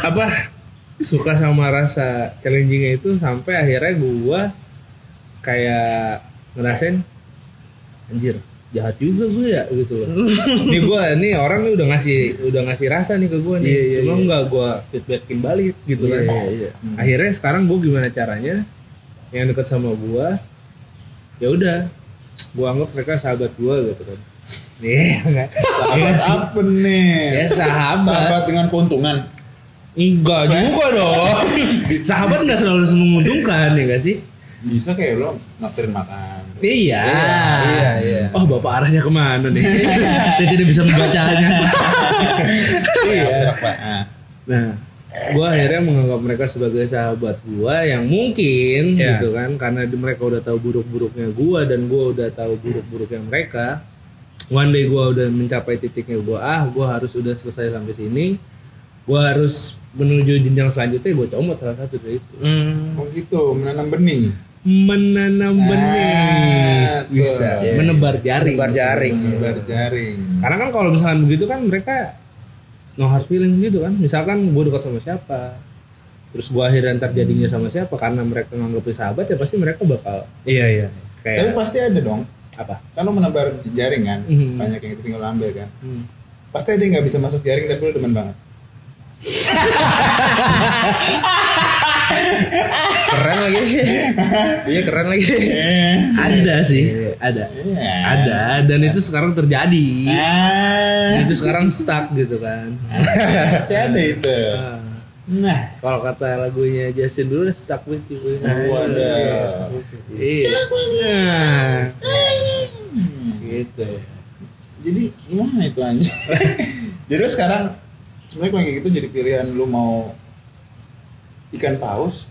A: apa suka sama rasa challengingnya itu sampai akhirnya gue kayak ngerasain anjir jahat juga gue ya gitu loh. nih gue nih orang nih udah ngasih udah ngasih rasa nih ke gue nih
C: Iya, iya,
A: cuma
C: iya.
A: nggak gue feedbackin balik gitu kan
B: Hmm.
A: akhirnya sekarang gue gimana caranya yang deket sama gue ya udah gue anggap mereka sahabat gue gitu kan nih enggak
B: Sahabat apa nih?
A: ya Iya sahabat,
B: Sahabat dengan keuntungan.
A: enggak juga dong sahabat nggak selalu menguntungkan ya nggak sih
B: Bisa kayak lo ngaktirin makan.
A: Iya.
B: iya, iya.
A: Oh, bapak arahnya kemana nih? Saya tidak bisa membacanya.
B: Iya. Abstrak, Pak. Ah.
A: nah, gue akhirnya menganggap mereka sebagai sahabat gue yang mungkin
C: Iya.
A: gitu kan, karena di- mereka udah tahu buruk-buruknya gue dan gue udah tahu buruk-buruknya mereka. One day gue udah mencapai titiknya gue ah, gue harus udah selesai sampai sini. Gue harus menuju jenjang selanjutnya gue comot salah satu dari itu.
B: Oh gitu, menanam benih.
A: Menanam benih,
B: Ah, bisa.
A: menebar jaring,
C: Menebar jaring.
B: Menyebar jaring.
A: Karena kan kalau misalkan begitu kan mereka no hard feeling gitu kan. Misalkan gue dekat sama siapa, terus gue akhirnya ntar jadinya sama siapa karena mereka nganggepnya sahabat ya pasti mereka bakal
C: Iya iya.
B: Tapi
A: kayak
B: pasti ada dong.
A: apa?
B: Kan lo menebar jaring kan,
A: Mhm.
B: banyak yang ketinggalan ambil kan.
A: Hmm.
B: Pasti ada yang nggak bisa masuk jaring tapi lo demen banget.
C: Keren lagi. iya keren lagi.
A: Ada sih, ada,
B: Iya.
A: Eh. ada. Dan itu sekarang terjadi.
B: Ah,
A: Itu sekarang stuck gitu kan.
B: Iya. pasti ada itu.
A: Ah.
B: Nah,
A: Kalau kata lagunya Justin dulu stuck with you.
B: waduh.
A: Iya. Nah. Gitu.
B: Hmm. Jadi gimana itu anjing? jadi lo sekarang sebenarnya kalau kayak gitu jadi pilihan lu mau ikan paus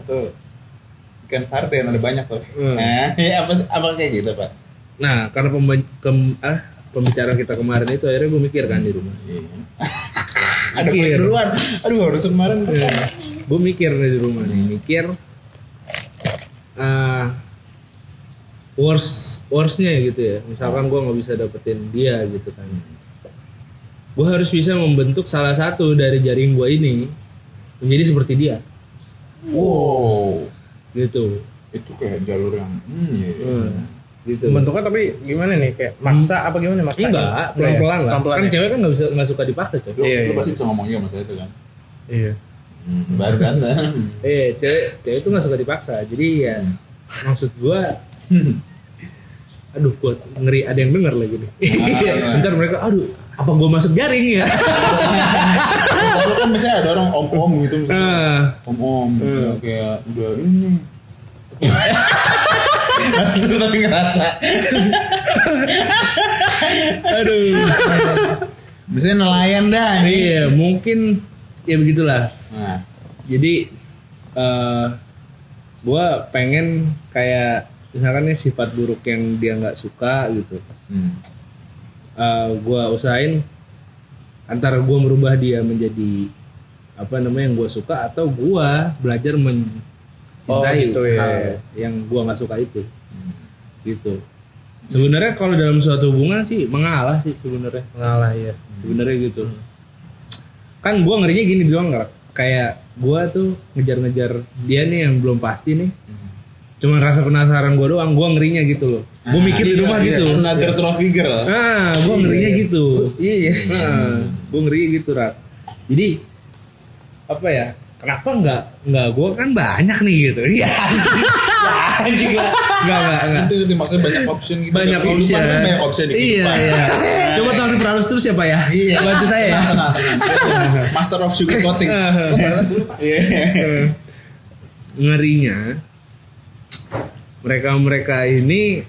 B: atau ikan sarden ada banyak loh.
A: Hmm.
B: Nah, ya apa apa kayak gitu pak?
A: Nah, karena pembe- kem- ah, pembicaraan kita kemarin itu akhirnya gue mikir kan di rumah.
B: ada
A: Mikir. Iya.
B: banyak duluan. Aduh harus kemarin.
A: gue mikir nih di rumah nih, mikir eh worst worstnya ya gitu ya. Misalkan gue nggak bisa dapetin dia gitu kan. gue harus bisa membentuk salah satu dari jaring gue ini menjadi seperti dia
B: Wow.
A: gitu
B: Itu kayak jalur yang hmm, iya, iya.
A: Hmm. gitu
C: Bentuknya tapi gimana nih kayak maksa apa gimana maksa? ya?
A: enggak pelan pelan lah kan cewek kan nggak bisa nggak suka dipakai tuh
B: Lu,
C: Iya,
B: lu
C: iya.
B: pasti bisa ngomong iya mas itu kan.
C: Iya.
B: Hmm, baru kan.
A: eh cewek cewek itu nggak suka dipaksa jadi ya maksud gue
B: Hmm.
A: aduh gua ngeri ada yang denger lagi nih
B: Jangan.
A: ntar mereka aduh apa gue masuk jaring ya
B: Kalau kan misalnya ada orang om-om gitu misalnya.
A: Eh,
B: Om-om gitu, kayak udah ini. Terus tapi ngerasa.
A: aduh
B: Misalnya nelayan dah. ini.
A: iya mungkin ya begitulah
B: Nah,
A: jadi eh gue pengen kayak misalkan nih sifat buruk yang dia nggak suka gitu
B: hmm.
A: eh gue usahain antara gue merubah dia menjadi apa namanya yang gue suka atau gue belajar mencintai
C: Oh, gitu ya.
A: hal yang gue nggak suka itu
B: Hmm.
A: gitu sebenarnya kalau dalam suatu hubungan sih mengalah sih sebenarnya
C: Ngalah ya.
A: sebenarnya gitu kan gue ngerinya gini doang nggak kayak gue tuh ngejar-ngejar dia nih yang belum pasti nih cuman rasa penasaran gue doang gue ngerinya gitu loh gue mikir
C: Iya,
A: di rumah gitu
B: Iya, Another trophy girl.
A: ah gue ngerinya gitu
C: Iya.
A: nah, gue ngeri gitu rat jadi apa ya kenapa nggak nggak gue kan banyak nih gitu iya anjing nggak nggak nggak nggak.
B: Itu itu maksudnya banyak option gitu.
A: banyak
B: Kehidupan
A: opsi
B: kan Banyak option di
A: iya
B: kehidupan.
A: iya coba tolong diperhalus terus ya pak ya
B: Iya.
A: bantu saya ya
B: Tenang, tenang. Master of sugar coating.
A: Hmm. Ah.
B: Iya.
A: Eh, ngerinya mereka-mereka ini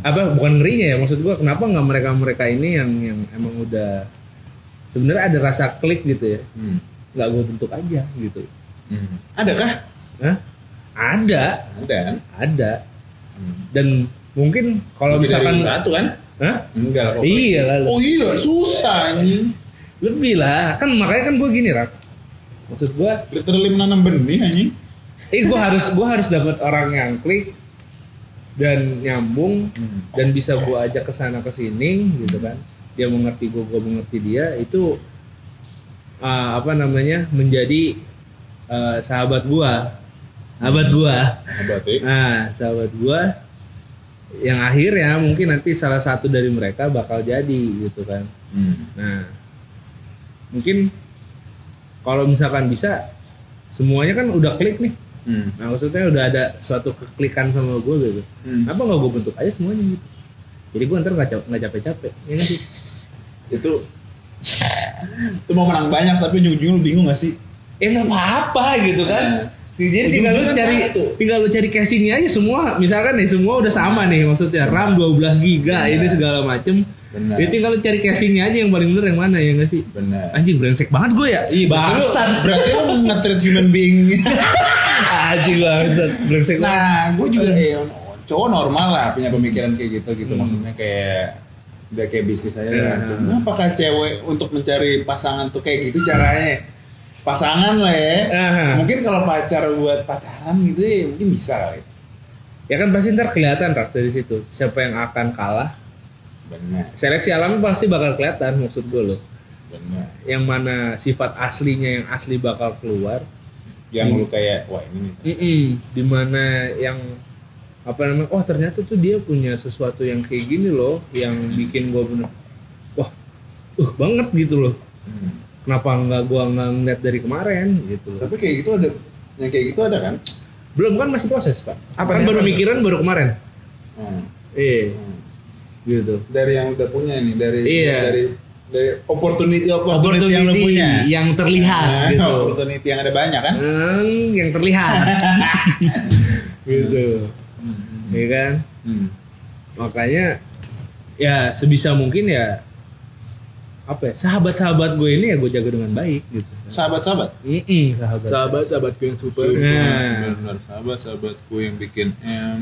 A: apa bukan ngerinya ya maksud gua kenapa nggak mereka-mereka ini yang yang emang udah sebenarnya ada rasa klik gitu ya
B: Hmm.
A: nggak gue bentuk aja gitu
B: Hmm. Ada kah?
A: Hah? ada
B: Ada kan?
A: ada dan mungkin Hmm. kalau
B: Lebih dari
A: misalkan
B: satu kan?
A: Hah?
B: Enggak lah. kok.
A: iya lah
B: Oh iya, susah anjing.
A: lebih lah kan makanya kan gue gini rak maksud gua
B: Literally menanam benih anjing.
A: eh gue harus gue harus dapat orang yang klik dan nyambung
B: Hmm.
A: dan bisa gue ajak ke sana ke sini gitu kan dia mengerti gue gue mengerti dia itu uh, apa namanya menjadi uh, sahabat gua sahabat gua
B: Nah, Berarti
A: nah sahabat gua yang akhirnya mungkin nanti salah satu dari mereka bakal jadi gitu kan
B: Hmm.
A: Nah, mungkin kalau misalkan bisa, semuanya kan udah klik nih.
B: Hmm.
A: Nah, maksudnya udah ada suatu keklikan sama gue gitu.
B: Hmm.
A: Kenapa nggak gue bentuk aja semuanya gitu? Jadi gue ntar nggak cap- nggak capek-capek, ya nggak sih?
B: Itu itu mau menang banyak tapi ujung-ujung lu bingung gak sih?
A: Ya nggak apa-apa gitu kan. Jadi tinggal lu
B: Ujung-ujungnya
A: cari,
B: satu.
A: tinggal lu cari casingnya aja semua. Misalkan nih semua udah sama nih, maksudnya RAM 12 giga
B: Benar.
A: ini segala macem.
B: Benar.
A: Jadi tinggal lu cari casingnya aja yang paling bener yang mana ya nggak sih?
B: Benar.
A: Anjing brengsek banget gue ya.
B: Iya, berarti
A: bangsat.
B: lu, berarti lu nge-treat human being.
A: Anjing bangsat. Brengsek banget.
B: Nah, gue juga
A: Iya.
B: ya, cowok normal lah punya pemikiran kayak gitu gitu maksudnya kayak udah kayak bisnis aja lah.
A: Hmm. Iya.
B: Apakah cewek untuk mencari pasangan tuh kayak gitu caranya? Pasangan lah ya.
A: Aha.
B: Mungkin kalau pacar buat pacaran gitu ya mungkin bisa kali.
A: Ya kan pasti ntar kelihatan Rak dari situ siapa yang akan kalah.
B: Benar,
A: Seleksi alam pasti bakal kelihatan maksud gue loh.
B: benar.
A: Yang mana sifat aslinya yang asli bakal keluar.
B: Yang
A: Hmm.
B: lu kayak wah ini nih.
A: Mm-mm. Dimana yang apa namanya? Oh ternyata tuh dia punya sesuatu yang kayak gini loh, yang bikin gue bener. Wah, uh banget gitu loh.
B: Hmm.
A: Kenapa nggak gue nggak ngeliat dari kemarin gitu loh?
B: Tapi kayak gitu ada yang kayak gitu ada kan?
A: Belum kan masih proses pak?
C: Apa
A: kan
C: nih?
A: baru mikiran baru kemarin.
B: Hmm.
A: Eh,
B: Hmm.
A: gitu.
B: Dari yang udah punya nih, dari
A: Iya.
B: dari dari opportunity opportunity, yang lu
A: Opportunity
B: punya.
A: yang terlihat
B: Nah,
A: gitu.
B: Opportunity yang ada banyak kan?
A: Hmm, yang terlihat gitu ya kan
B: Hmm.
A: makanya ya sebisa mungkin ya apa ya sahabat-sahabat gue ini ya gue jaga dengan baik gitu
B: Sahabat-sahabat.
A: Mm-mm, sahabat
D: Sahabat-sahabatku yang super.
A: Nah.
B: Iya. Benar, sahabat-sahabatku yang bikin em.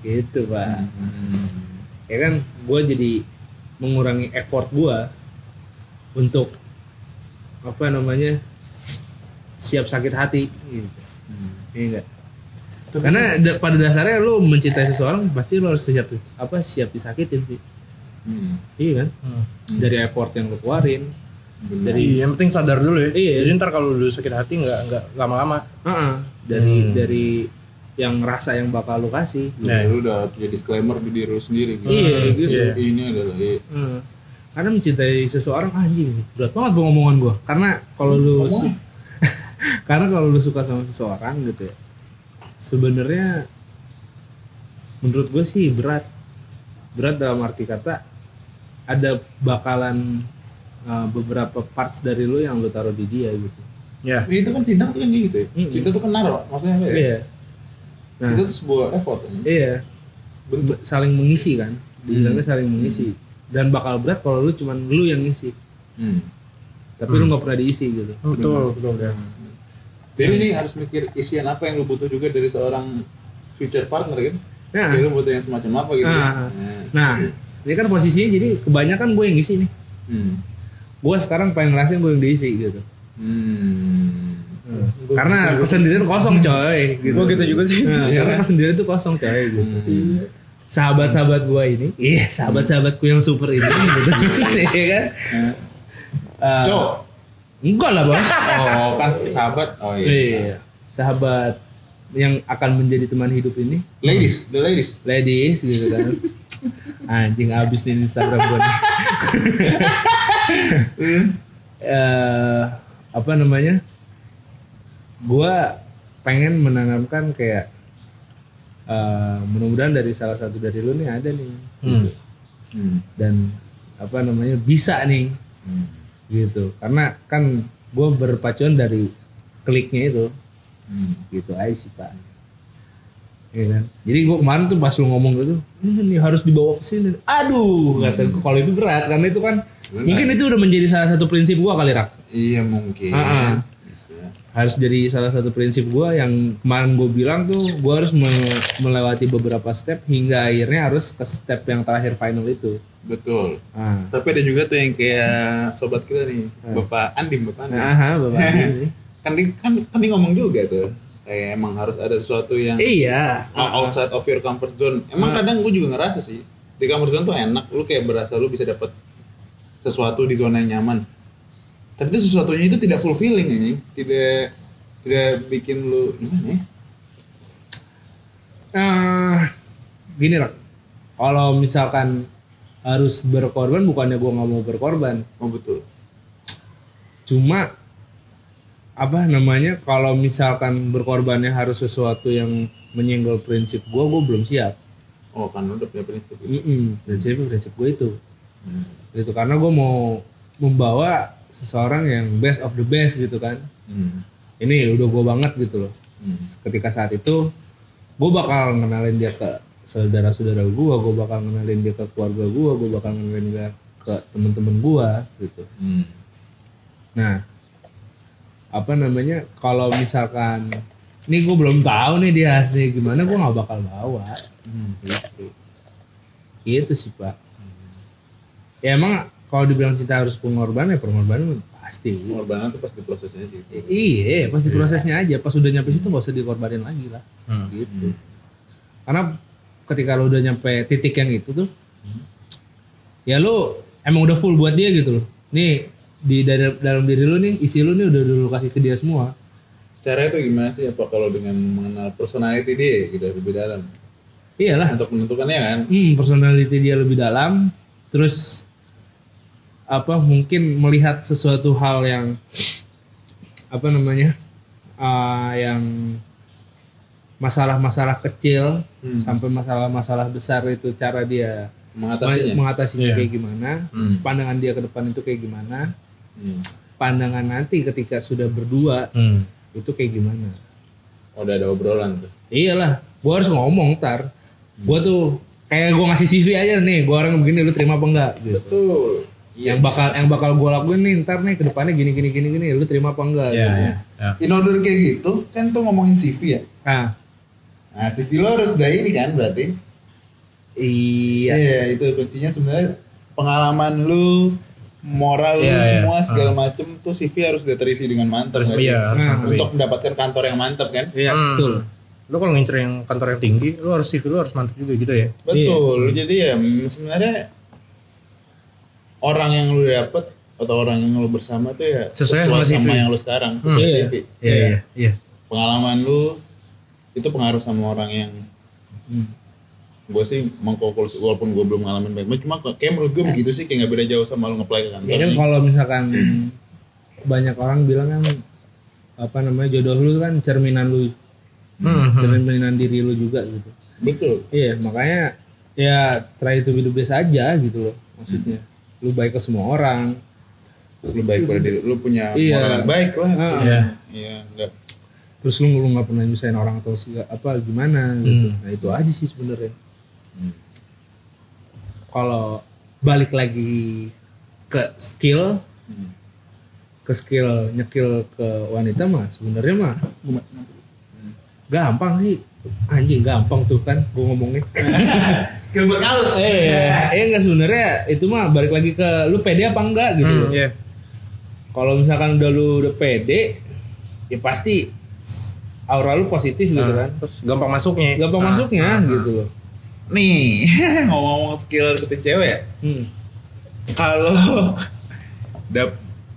A: gitu pak
B: Hmm.
A: ya kan gue jadi mengurangi effort gue untuk apa namanya siap sakit hati gitu Iya enggak? kan- Karena da- pada dasarnya lu mencintai seseorang pasti lu harus siap apa siap disakitin sih.
B: Hmm.
A: Iya kan?
D: Hmm.
A: Dari effort yang lu keluarin.
B: Bener.
A: Dari
D: Iya, yang penting sadar dulu ya.
A: Iya.
D: Jadi ntar kalau lu sakit hati nggak nggak lama-lama.
A: Heeh, dari
D: Hmm.
A: dari yang rasa yang bakal lu kasih.
D: Nah,
B: Lu udah punya disclaimer di diri lu sendiri gitu.
A: Iya, gitu.
D: Iya.
B: Ini adalah iya.
A: Heeh. Karena mencintai seseorang "Ah, anjing berat banget gua ngomongan gua. Karena kalau lu su- karena kalau lu suka sama seseorang gitu ya. Sebenarnya menurut gue sih berat. Berat dalam arti kata ada bakalan uh, beberapa parts dari lu yang lu taruh di dia gitu.
D: Ya.
B: Ya, itu kan cinta tuh kan kayak gitu ya.
A: Mm-mm.
B: Cinta tuh kan naruh, maksudnya apa ya?
A: Iya. Nah,
B: Cinta tuh sebuah effort. kan.
A: iya.
B: Bentuk.
A: Be- saling mengisi kan
B: Hmm.
A: dibilangnya saling mengisi dan bakal berat kalau lu cuman lu yang ngisi Mm.
B: Hmm.
A: tapi lu nggak pernah diisi gitu
D: Betul, betul ya.
B: Jadi ini harus mikir isian apa yang lu butuh juga dari seorang future partner kan?
A: nah
B: Jadi lu butuh yang semacam apa gitu ya?
A: Nah. nah ini kan posisinya jadi kebanyakan gue yang ngisi nih
B: Hmm.
A: gue sekarang pengen ngerasain gue yang diisi gitu
B: Hmm. gitu
A: karena kesendirian kosong coy gitu
C: Gue gitu juga sih.
A: Nah,
B: Iya.
A: karena kesendirian tuh kosong coy gitu
B: Hmm.
A: sahabat-sahabat gue ini iya sahabat-sahabatku yang super ini gitu Iya kan Eh,
B: Cowok.
A: enggak lah bos
B: Oh, kan sahabat. Oh iya.
A: Iya. sahabat yang akan menjadi teman hidup ini
B: Ladies, the ladies.
A: ladies gitu kan anjing abis nih Instagram gue nih Eh, apa namanya gua pengen menanamkan kayak eh, mudah-mudahan dari salah satu dari lu nih ada nih gitu.
D: Hmm.
B: Hmm.
A: dan apa namanya bisa nih
B: Hmm.
A: gitu karena kan gue berpacuan dari kliknya itu
B: Hmm.
A: gitu aja sih pak Iya kan? Jadi gue kemarin tuh pas lu ngomong gitu, ini harus dibawa ke sini. Aduh, kata gua, kalau itu berat karena itu kan
B: Benar.
A: mungkin itu udah menjadi salah satu prinsip gua kali rak.
B: Iya mungkin. Iya.
A: Ah, ah.
B: Bisa.
A: Harus jadi salah satu prinsip gua yang kemarin gue bilang tuh, gua harus me- melewati beberapa step hingga akhirnya harus ke step yang terakhir final itu.
B: Betul.
A: Ah,
B: Tapi ada juga tuh yang kayak sobat kita nih, Bapak Andim, Bapak Andim.
A: nah, aha, bapak ini.
B: Kan dia, kan, kan dia ngomong juga tuh. Kayak emang harus ada sesuatu yang
A: Iya,
B: Ah, outside of your comfort zone. Emang kadang gue juga ngerasa sih di comfort zone tuh enak, lu kayak berasa lu bisa dapat sesuatu di zona yang nyaman. Tapi itu sesuatunya itu tidak fulfilling ini, tidak tidak bikin lu gimana ya?
A: Eh, gini rak, kalau misalkan harus berkorban, bukannya gua nggak mau berkorban,
B: Oh betul.
A: cuma apa namanya kalau misalkan berkorbannya harus sesuatu yang menyenggol prinsip gua gua belum siap
B: Oh kan lu udah punya prinsip itu.
A: Mm-mm, prinsip prinsip gue itu
B: Hmm.
A: itu karena gua mau membawa seseorang yang best of the best gitu kan
B: Hmm.
A: ini udah gua banget gitu loh
B: Hmm.
A: ketika saat itu gue bakal kenalin dia ke saudara-saudara gua gue bakal kenalin dia ke keluarga gua gue bakal kenalin dia ke temen-temen gua gitu
B: Hmm.
A: Nah, apa namanya? Kalau misalkan ini gue belum tahu nih dia asli gimana, gue nggak bakal bawa.
B: hmm,
A: Gitu. Gitu sih pak. Ya emang kalau dibilang cinta harus pengorbanan, ya pengorbanan pasti.
B: Pengorbanan tuh pas di prosesnya gitu.
A: Iya, pas di prosesnya aja, pas udah nyampe situ nggak usah dikorbanin lagi lah. Gitu. Karena ketika lo udah nyampe titik yang itu tuh, ya lo emang udah full buat dia gitu loh. Nih di dalam, dalam diri lo nih isi lo nih udah dulu kasih ke dia semua.
B: Caranya tuh gimana sih? Apa kalau dengan mengenal personality dia gitu lebih dalam?
A: Iyalah,
B: Untuk menentukannya kan?
A: hmm, personality dia lebih dalam, terus apa mungkin melihat sesuatu hal yang apa namanya ah, yang masalah-masalah kecil
D: Hmm.
A: sampai masalah-masalah besar itu cara dia
B: Mengatasinya.
A: mengatasinya
D: Iya.
A: kayak gimana,
B: Hmm.
A: pandangan dia ke depan itu kayak gimana,
B: Hmm.
A: pandangan nanti ketika sudah berdua
D: Hmm.
A: itu kayak gimana.
B: Oh, Udah ada obrolan tuh.
A: Iyalah, gua harus ngomong tar. Gua tuh kayak gua ngasih CV aja nih, gua orang begini lu terima apa enggak gitu.
B: Betul.
D: Iya,
A: Yang bakal yang bakal gua lakuin nih ntar nih ke depannya gini gini gini gini lu terima apa enggak
D: Ya,
A: gitu.
D: ya, ya.
B: In order kayak gitu, kan tuh ngomongin CV ya.
A: Nah,
B: Nah, CV lo harus udah ini kan berarti.
A: iya.
B: Iya, itu kuncinya sebenarnya pengalaman lu, moral lu
D: Iya, iya.
B: semua segala macem tuh CV harus udah terisi dengan mantap.
D: Terus
B: nggak sih?
D: iya, harus
A: Nah,
D: mantepin.
B: Untuk mendapatkan kantor yang mantap kan?
A: Iya,
D: Hmm.
A: betul.
D: Lu kalau ngincer yang kantor yang tinggi, lu harus CV lu harus mantep juga gitu ya.
B: Betul. Jadi ya mm, sebenarnya orang yang lu dapet atau orang yang lu bersama tuh ya
D: Sesuai sama CV.
B: yang lu sekarang
D: Hmm.
B: sesuai
A: Iya.
B: CV.
D: Iya iya iya.
B: pengalaman lu itu pengaruh sama orang yang Hmm. gue sih mengkonklusi walaupun gue belum ngalamin baik cuma kayak menurut gue begitu sih kayak nggak beda jauh sama lu ngeplay ke kantor
A: Ya kan
B: nih.
A: kalau misalkan banyak orang bilang kan apa namanya jodoh lu kan cerminan lu,
D: Hmm, hmm.
A: cerminan diri lu juga gitu.
B: betul
A: Iya, makanya ya try to be the best aja gitu loh maksudnya.
D: Hmm.
A: Lu baik ke semua orang.
B: lu baik pada diri lu punya
A: Iya.
B: moral yang baik lah
A: Ah,
D: Iya.
B: iya enggak
A: Terus lu lu nggak pernah nyusahin orang atau sega- apa gimana gitu.
D: Hmm.
A: Nah, itu aja sih sebenarnya.
B: Hmm.
A: Kalau balik lagi ke skill
B: Hmm.
A: ke skill nyekil ke wanita mah sebenarnya mah gampang sih anjing gampang tuh kan gue ngomongnya
B: Gilbert Kalus
D: Iya.
A: eh eh enggak sebenarnya itu mah balik lagi ke lu pede apa enggak gitu
D: Hmm,
A: loh.
D: iya.
A: kalau misalkan udah lu udah pede ya pasti aura lu positif gitu
D: Nah,
A: kan
D: terus gampang masuknya.
A: gampang
D: Ah,
A: masuknya
D: ah,
A: gitu loh
B: nih ngomong-ngomong skill deketin cewek ya
A: hmm.
B: kalau dap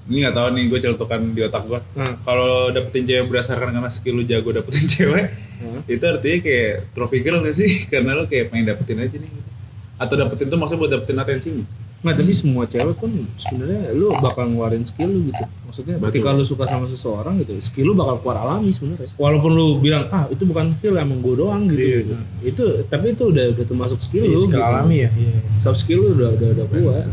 B: ini nggak tahu nih gue celutukan di otak gue
A: Hmm.
B: kalau dapetin cewek berdasarkan karena skill lu jago dapetin cewek
A: Hmm.
B: itu artinya kayak trophy girl gak sih karena lu kayak pengen dapetin aja nih atau dapetin tuh maksudnya buat dapetin atensi nih
A: Nah, tapi semua cewek pun sebenarnya lu bakal ngeluarin skill lu gitu. Maksudnya
B: Betul.
A: ketika lu suka sama seseorang gitu, skill lu bakal keluar alami sebenarnya. Walaupun lu bilang ah itu bukan skill emang gue doang gitu. Nah, itu tapi itu udah udah termasuk skill
D: Iya,
A: lu.
D: skill
A: gitu.
D: alami ya. Iya.
A: Soft skill lu udah udah udah kuat.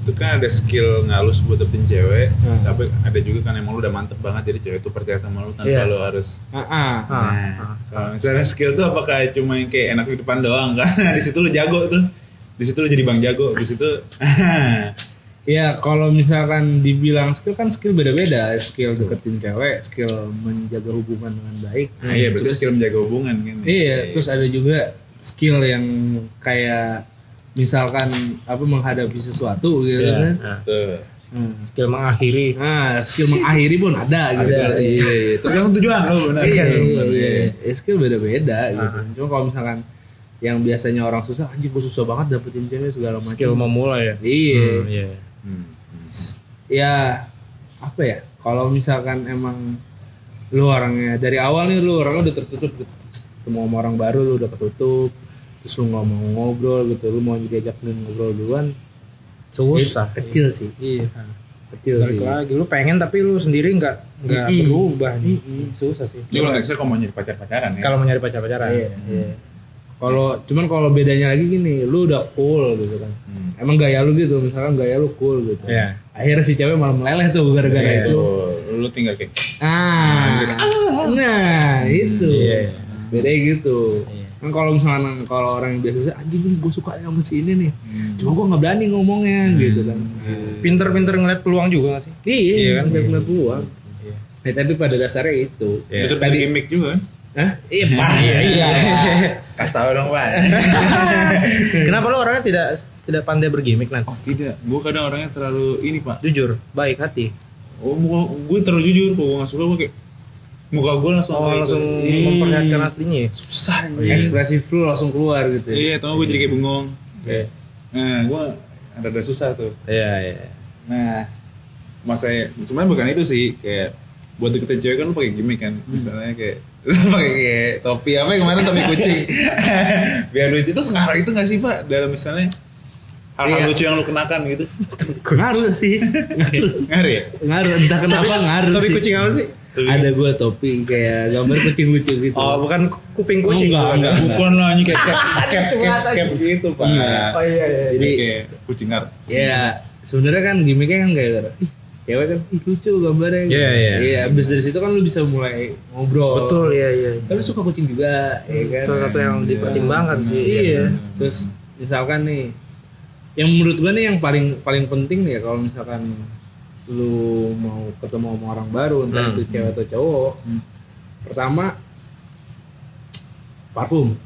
B: itu kan ada skill ngalus buat dapetin cewek
A: Hmm.
B: tapi ada juga kan emang lu udah mantep banget jadi cewek itu percaya sama lu tanpa
D: Iya.
B: lu harus
A: Ah, ah.
D: Ah,
B: Nah, kalau misalnya skill tuh apakah cuma yang kayak enak di depan doang kan? di situ lu jago tuh. Di situ lu jadi bang jago, di situ Nah,
A: Ya kalau misalkan dibilang skill kan skill beda-beda, skill deketin cewek, skill menjaga hubungan dengan baik.
B: Nah, iya berarti
A: Terus-
B: skill menjaga hubungan kan.
A: Iya, terus ada juga skill yang kayak misalkan apa menghadapi sesuatu gitu
D: Iya.
A: kan.
D: Nah,
B: Tuh.
A: Hmm.
D: skill mengakhiri.
A: Nah, skill mengakhiri pun ada gitu.
B: Ada, iya, iya. Tergantung tujuan lo benar.
A: Iya,
B: benar,
A: iya,
B: iya.
A: iya. Skill beda-beda gitu. Cuma kalau misalkan yang biasanya orang susah, anjir gue susah banget dapetin cewek segala macam.
D: Skill memulai ya.
A: Iya.
D: Hmm, iya.
B: Hmm.
A: S- Ya apa ya? Kalau misalkan emang lu orangnya dari awal nih lu orangnya udah tertutup gitu. Ketemu sama orang baru lu udah ketutup. Terus lu nggak mau ngobrol gitu, lu mau diajak ngobrol duluan.
D: Susah. Iya.
A: Kecil sih. Iya. Kecil
D: Balik
A: sih.
D: lagi lu pengen tapi lu sendiri nggak nggak
A: Mm-mm.
D: berubah nih. Susah sih.
B: Ini kalau nextnya kalau mau jadi pacar-pacaran ya.
D: Iya. Kalau mau nyari pacar-pacaran.
A: Iya, iya. Kalau cuman kalau bedanya lagi gini, lu udah cool gitu kan.
B: Hmm.
A: Emang gaya lu gitu, misalkan gaya lu cool gitu.
D: Iya.
A: Akhirnya si cewek malah meleleh tuh gara-gara
D: Iya.
A: itu.
B: Tuh, lu tinggal kayak
A: Ah, nah itu.
D: iya.
A: Bedanya gitu.
D: Iya.
A: Kan kalau misalkan kalau orang yang biasa anjing nih gue suka sama si ini nih.
B: hmm.
A: Cuma gue nggak berani ngomongnya
D: Hmm.
A: gitu kan.
D: Pinter-pinter ngeliat peluang juga nggak sih?
A: Iya,
D: Iya
A: kan
D: kan? Iya.
A: benar peluang. Eh, tapi pada dasarnya itu.
B: Iya. Itu dari gimmick juga kan.
A: Hah? Iya, pasti. Iya,
B: Kasih tau dong, Pak.
D: Kenapa lu orangnya tidak tidak pandai bergimmick nanti?
B: Oh, tidak. Gua kadang orangnya terlalu ini, Pak.
D: Jujur, baik hati.
B: Oh, muka gue terlalu jujur, kalau gue gak suka gue kayak muka gue langsung
D: Oh,
B: kayak
D: langsung
B: gitu. Iya,
C: Hmm.
D: memperlihatkan aslinya. ya?
B: susah
A: iya. Ekspresif lu langsung keluar gitu. ya.
B: Iya, tau gue jadi kayak bengong. Kayak, Nah, gue ada susah tuh.
D: Iya, iya.
B: Nah, masa cuman bukan itu sih kayak buat deketin cewek kan lu pakai gimmick kan. Misalnya kayak lu pakai kayak topi apa yang kemarin topi kucing. Biar lucu itu sekarang itu gak sih, Pak? Dalam misalnya hal-hal
A: Iya.
B: lucu yang lu kenakan gitu.
A: Ngaruh sih.
B: Ngeri ya?
A: Ngaruh entah kenapa ngaruh
D: Tapi
A: sih.
D: kucing apa sih?
A: Ada gua topi kayak gambar kucing lucu gitu.
D: Oh, bukan ku- kuping kucing.
A: Enggak,
D: bukan.
A: enggak.
B: Bukan lah anjing kayak cap cap cap cap gitu, Pak.
C: Oh,
A: Iya.
D: iya iya.
B: Jadi
A: Jadi
B: kayak kucing ngar.
A: ya sebenarnya kan gimmicknya kan kayak gara "Ih, cewek kan ih, lucu gambarnya.
D: Iya, iya.
A: Iya, abis dari situ kan lu bisa mulai ngobrol.
D: Betul iya iya.
A: Tapi suka kucing juga,
C: Iya,
A: ya kan.
D: Salah satu yang dipertimbangkan sih. ya kan?
A: Iya. Terus misalkan nih yang menurut gua nih yang paling paling penting nih ya kalau misalkan lu mau ketemu sama orang baru entah
D: Hmm.
A: itu cewek atau cowok.
B: Hmm.
A: Pertama parfum.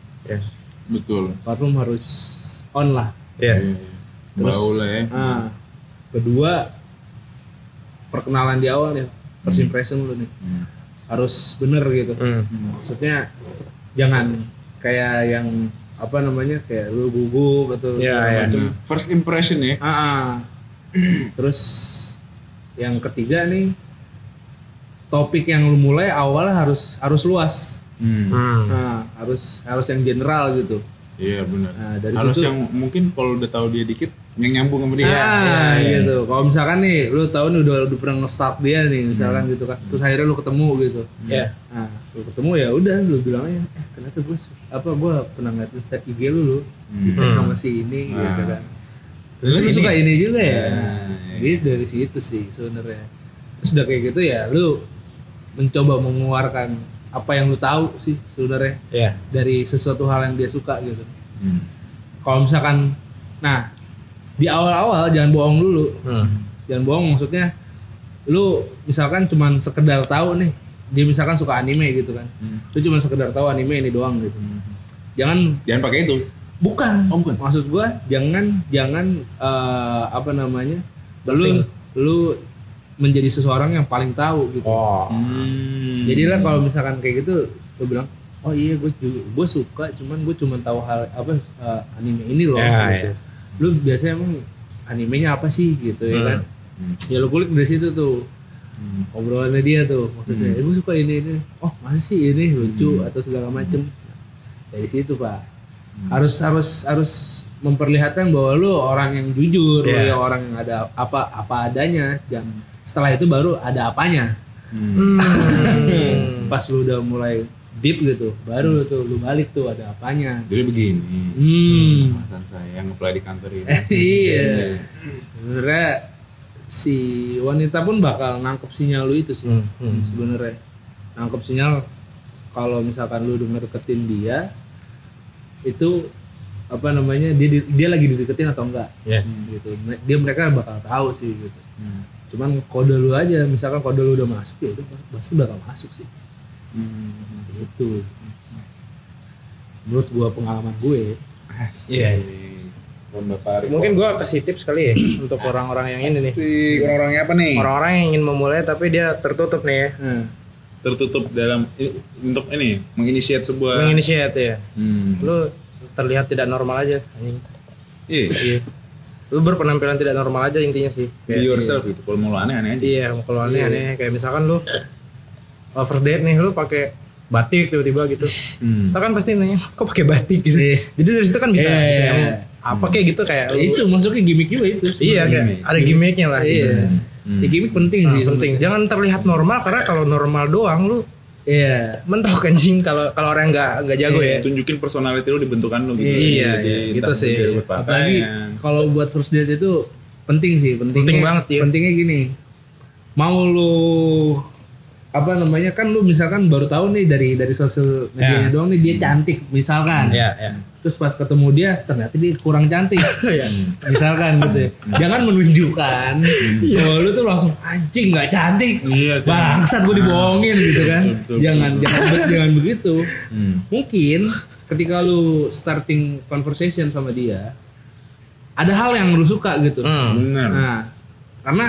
B: Betul.
A: Parfum harus on lah.
D: Iya.
A: Terus,
B: Bau lah ya.
A: ah, kedua perkenalan di awal nih, first impression lu nih
B: Hmm.
A: harus bener gitu.
D: Hmm.
A: Maksudnya jangan kayak yang apa namanya kayak lu gugup atau
C: Iya,
A: segala
C: iya.
B: ya.
A: macem.
B: First impression ya.
A: Ah, ah. terus yang ketiga nih topik yang lu mulai awal harus harus luas
B: Hmm.
C: Hmm.
A: Nah, harus harus yang general gitu
B: Iya benar.
A: Nah, dari
B: Harus
A: situ-
B: yang mungkin kalau udah tahu dia dikit yang nyambung sama dia. iya,
A: Ah, gitu. Kalau misalkan nih, lu tahu nih udah, udah pernah nge-start dia nih, misalkan gitu kan. Terus akhirnya lu ketemu gitu.
C: Ya.
A: Nah, lu ketemu ya udah, lu bilang aja, eh, ternyata gue su- apa gue pernah ngeliat Insta IG lu lu, gitu sama si ini gitu kan. Terus lu suka ini juga ya.
B: Nah,
A: Jadi dari situ sih sebenarnya. Terus udah kayak gitu ya, lu mencoba mengeluarkan apa yang lu tahu sih sebenarnya
D: Iya.
C: Ya.
A: dari sesuatu hal yang dia suka gitu
B: Hmm.
A: kalau misalkan nah di awal-awal jangan bohong dulu
C: Hmm.
A: jangan bohong maksudnya lu misalkan cuman sekedar tahu nih dia misalkan suka anime gitu kan
B: Hmm.
A: lu cuman sekedar tahu anime ini doang gitu jangan
B: Jangan pakai itu.
A: bukan
B: Oh, bukan.
A: maksud gua jangan jangan eh, apa namanya lu lu menjadi seseorang yang paling tahu gitu
C: Oh.
B: Hmm.
A: jadi lah kalau misalkan kayak gitu gue bilang oh iya gue gue suka cuman gue cuman tahu hal apa eh, anime ini loh
C: Ya,
A: gitu. lu biasanya emang animenya apa sih gitu ya
C: Hmm.
A: kan ya lu kulik dari situ tuh
B: Hmm.
A: obrolannya dia tuh maksudnya
C: Hmm.
A: eh, gue suka ini ini oh masih ini lucu atau segala macem dari situ pak
C: Hmm.
A: harus harus harus memperlihatkan bahwa lu orang yang jujur lu
C: Iya.
A: yang orang yang ada apa apa adanya dan setelah itu baru ada apanya Hmm.
C: Hmm.
A: pas lu udah mulai deep gitu baru tuh lu balik tuh ada apanya
B: Jadi begini.
A: hmm
B: Alasan saya yang apply di kantor ini.
A: Eh, iya sebenarnya si wanita pun bakal nangkep sinyal lu itu sih
C: Hmm, hmm.
A: sebenarnya nangkep sinyal kalau misalkan lu udah ngedeketin dia itu apa namanya dia di- dia lagi dideketin atau enggak
D: Iya.
C: Ya.
B: Hmm.
A: gitu Me- dia mereka bakal tahu sih gitu cuman kode lu aja misalkan kode lu udah masuk ya udah pasti bakal masuk sih
B: Hmm.
A: itu menurut gua pengalaman gue
C: Iya,
B: Hmm.
C: iya.
B: Mungkin
C: Mungkin gua kasih tips kali ya untuk
B: Hmm.
C: orang-orang yang ini nih.
B: si orang-orangnya apa nih?
C: Orang-orang yang ingin memulai tapi dia tertutup nih ya.
B: Hmm. Tertutup dalam i- untuk ini menginisiat sebuah.
C: Menginisiat ya.
B: Hmm.
C: Lu terlihat tidak normal aja. anjing.
B: Iya.
C: Iya. Lu berpenampilan tidak normal aja intinya sih.
B: Be yourself gitu. Kalau mau lo aneh-aneh aja.
C: Iya, kalau aneh aneh kayak misalkan lu uh, first date nih lu pakai batik tiba-tiba gitu.
B: Hmm.
C: Kita kan pasti nanya, kok pakai batik gitu.
A: Iya.
C: Jadi dari situ kan bisa,
A: Iya,
C: bisa
A: iya,
C: ngomong,
A: iya.
C: apa kayak gitu kayak lu-
A: Ya, itu masuknya gimmick juga itu
C: Iya, kayak
B: Gimmick.
C: ada gimmicknya lah. gitu.
A: iya
B: Hmm.
A: Ya, gimmick penting
C: Nah,
A: sih
C: penting. Jangan terlihat normal karena kalau normal doang lu
A: iya
C: mentok anjing kalau kalau orang nggak nggak jago ya.
B: Tunjukin personality lo dibentukan lo gitu.
C: Iya, iya, gitu sih.
A: apalagi kalau buat first date itu penting sih pentingnya,
C: Penting banget, iya.
A: pentingnya gini mau lu apa namanya kan lu misalkan baru tahu nih dari dari sosial medianya doang nih dia cantik misalkan
C: ya.
A: terus pas ketemu dia ternyata dia kurang cantik
B: Iya.
A: misalkan gitu ya. jangan menunjukkan bahwa lu tuh langsung anjing nggak cantik
B: Iya, kan.
A: bangsat gue dibohongin gitu kan
B: Betul, betul,
A: jangan jangan be- jangan begitu
B: Hmm.
A: mungkin ketika lu starting conversation sama dia ada hal yang lu suka gitu
B: Hmm.
C: Hmm.
B: Benar.
A: nah karena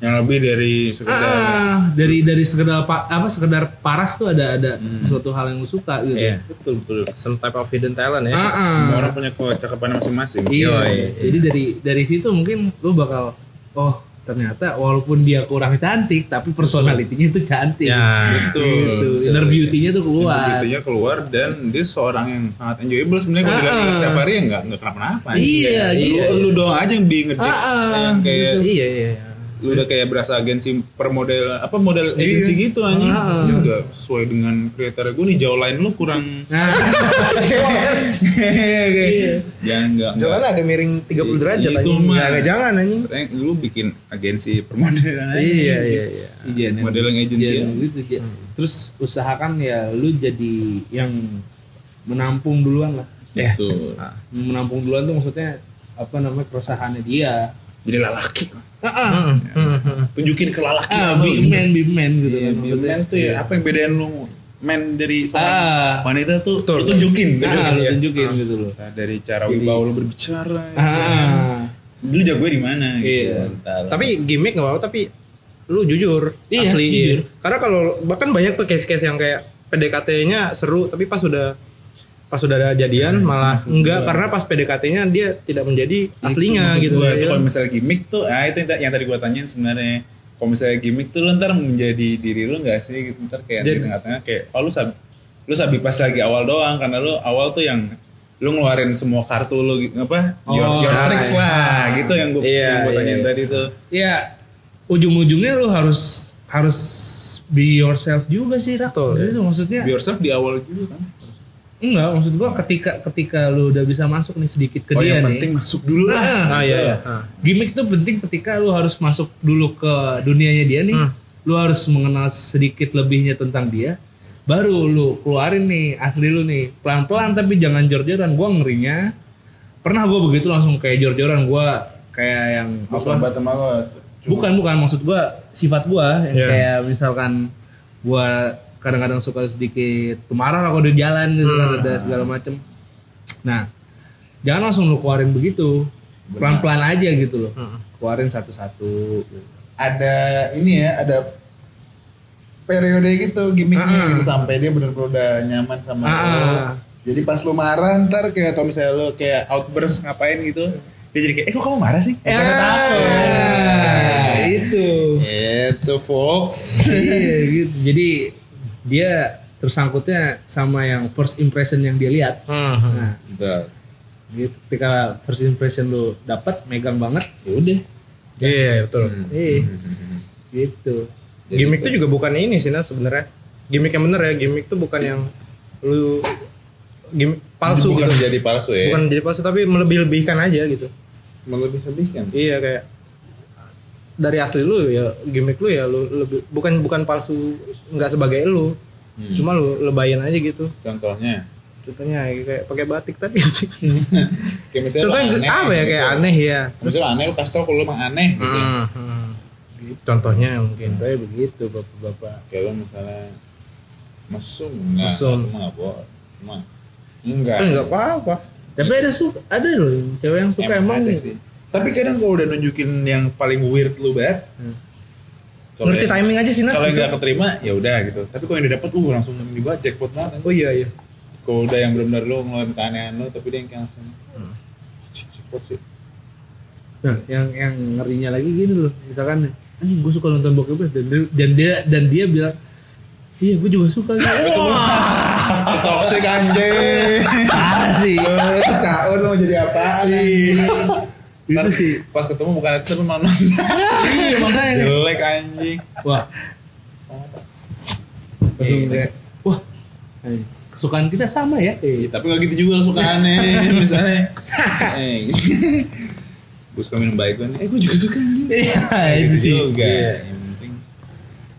B: Yang lebih dari sekedar.
A: ah, dari dari sekedar pa- apa sekedar paras tuh ada ada
B: Hmm.
A: sesuatu hal yang lu suka gitu
C: Iya.
B: Betul betul.
C: Some type of hidden talent ya.
A: Ah, ah.
B: Semua orang punya kecakapan masing-masing.
A: Iya.
B: Yoi.
A: Jadi dari dari situ mungkin lu bakal oh ternyata walaupun dia kurang cantik tapi personalitinya itu cantik.
B: Betul.
A: Gitu.
B: Betul.
A: Inner beauty-nya tuh keluar.
B: Inner beauty-nya keluar dan dia seorang yang sangat enjoyable sebenarnya kalau
A: Ah.
B: dibilang setiap hari ya nggak nggak kenapa-napa.
A: Iya,
B: Lu,
A: iya,
B: lu doang aja yang bingung
A: Ah, ah,
B: yang kayak
C: Iya, iya, iya.
B: lu udah kayak berasa agensi per model apa model agensi gitu aja.
A: Ah.
B: Ini nggak sesuai dengan kriteria gue nih jauh lain lu kurang.
A: Nah, iya.
B: Iya. Jangan nggak. nggak.
C: Jalan agak miring 30 derajat
B: Itu
C: anjing.
B: mah.
C: Nggak, nggak, jangan anjing.
B: Katanya lu bikin agensi permodelan aja. gitu.
C: Iya, iya, iya.
A: iya, nih.
B: Modeling agency
A: Iya,
B: ya.
A: gitu. Ja- Terus usahakan ya lu jadi yang menampung duluan lah.
B: Betul.
A: Menampung duluan tuh maksudnya apa namanya keresahannya dia.
B: Jadi lelaki.
C: Hmm,
A: Ah,
B: Tunjukin ke lelaki.
A: ah,
B: lu.
A: big man, big man gitu.
B: Iya,
A: kan.
B: Bill
A: Maksudnya,
B: Man tuh ya, apa yang bedain lu men dari seorang
A: Ah,
B: wanita tuh lu tunjukin
A: nah,
B: tunjukin
A: lu
B: ya.
A: tunjukin gitu loh.
B: Nah, dari cara wibawa lu berbicara ya.
A: Ah,
B: lu jago di mana
A: Iya.
B: gitu Ntar.
C: Tapi gimmick nggak apa-apa tapi lu jujur
A: Iya,
C: asli.
A: jujur.
C: Karena kalau bahkan banyak tuh case-case yang kayak PDKT-nya seru tapi pas udah pas sudah ada jadian malah enggak karena pas PDKT-nya dia tidak menjadi aslinya
B: Maksud
C: gitu
B: gua, itu
C: ya.
B: kalau misalnya gimmick tuh ah itu yang ta- yang tadi gua tanyain sebenarnya kalau misalnya gimmick tuh lu ntar menjadi diri lu nggak sih gitu ntar kayak di
C: Jadi-
B: tengah-tengah kayak oh lu sabi lu sabi pas lagi awal doang karena lu awal tuh yang lu ngeluarin semua kartu lu gitu apa your,
A: Oh,
B: your
A: nah,
B: tricks
A: iya.
B: lah gitu yang gua,
C: Iya,
B: yang gua
C: iya,
B: tanyain
C: iya.
B: tadi tuh
A: ya ujung-ujungnya lu harus harus be yourself juga sih Rak.
C: Betul,
A: Itu maksudnya
B: be yourself di awal dulu kan
A: enggak maksud gua ketika ketika lu udah bisa masuk nih sedikit ke
B: oh
A: dia
B: yang
A: nih.
B: penting masuk dulu lah Nah,
C: Ah iya iya. Ah.
A: Gimik tuh penting ketika lu harus masuk dulu ke dunianya dia nih.
B: Hmm.
A: Lu harus mengenal sedikit lebihnya tentang dia. Baru lu keluarin nih asli lu nih. Pelan-pelan tapi jangan jor-joran. Gua ngerinya pernah gua begitu langsung kayak jor-joran gua kayak yang apa?
B: sama lo
A: Bukan bukan maksud gua sifat gua yang kayak misalkan gua kadang-kadang suka sedikit marah kalau di jalan gitu kan ada segala macem. Nah, jangan langsung lu keluarin begitu. Pelan-pelan aja gitu loh. Keluarin satu-satu.
E: ada ini ya ada periode gitu
C: Ah.
E: gimmicknya gitu sampai dia bener-bener udah nyaman sama lo
A: Ah.
E: jadi pas lu marah ntar kayak atau misalnya lo kayak
B: outburst ngapain gitu dia jadi kayak eh kok kamu marah sih
A: Ya, Ah. itu.
E: itu folks
A: Iya gitu. Jadi dia tersangkutnya sama yang first impression yang dia lihat.
C: Hmm.
A: Nah, gitu. ketika first impression lu dapat megang banget, ya udah.
C: Iya iya, betul.
A: Eh, gitu.
C: gimmick tuh juga bukan ini sih nah sebenarnya. Gimmick yang bener ya, gimmick tuh bukan yang lu gimmick palsu
B: bukan
C: gitu.
B: menjadi palsu ya
C: Bukan jadi palsu tapi melebih-lebihkan aja gitu.
B: melebih-lebihkan
C: Iya kayak dari asli lu ya gimmick lu ya lu lebih bukan bukan palsu nggak sebagai lu.
B: Hmm.
C: Cuma lu lebayin aja gitu.
B: contohnya
C: Contohnya kayak pakai batik tadi.
B: kayak misalnya lu
C: Contohnya apa ya
B: gitu.
C: kayak aneh ya.
B: Terus lu aneh gitu lu kasih tau kalau lu emang aneh gitu.
C: Hmm, hmm. Contohnya mungkin.
B: Hmm.
A: Kayak begitu bapak-bapak.
B: Kayak lu misalnya mesum. Nah,
C: Mesum.
B: lu mah nggak bohong. Emang. Enggak.
C: Kan nggak apa-apa.
A: Tapi ada suka, ada loh cewek yang suka
B: Emang
A: emang,
C: gitu.
B: ada sih. Tapi kadang kalau udah nunjukin yang paling weird lu banget. kalau
C: Hmm. Ngerti
B: yang-
C: timing aja sih Nat.
B: Kalau yang
C: Itu.
B: nggak keterima ya udah gitu. Tapi kalau yang didapat uh langsung dibawa jackpot banget.
C: Oh iya iya.
B: Kalau udah yang benar-benar lu ngeluarin keanehan lu tapi dia yang kayak langsung
C: Hmm.
B: "Cih, jackpot sih.
A: Nah, yang yang ngerinya lagi gini loh, misalkan anjing gue suka nonton bokep dan dia, dan dia dan dia bilang iya gue juga suka gitu. Wah,
B: Toxic anjing.
A: parah sih.
B: Iya.
E: caon mau jadi apaan
A: Itu sih.
B: Pas ketemu bukan itu tapi malah nonton.
A: Iya, makanya.
B: jelek anjing.
A: Wah. Langsung kayak, wah. eh, Kesukaan kita sama ya.
B: Ya,
A: Eh,
B: tapi gak gitu juga suka aneh misalnya. eh, gue suka minum baik nih. Eh, gue juga suka anjing.
A: Iya,
B: Gitu
A: itu sih.
B: Juga. Yang penting.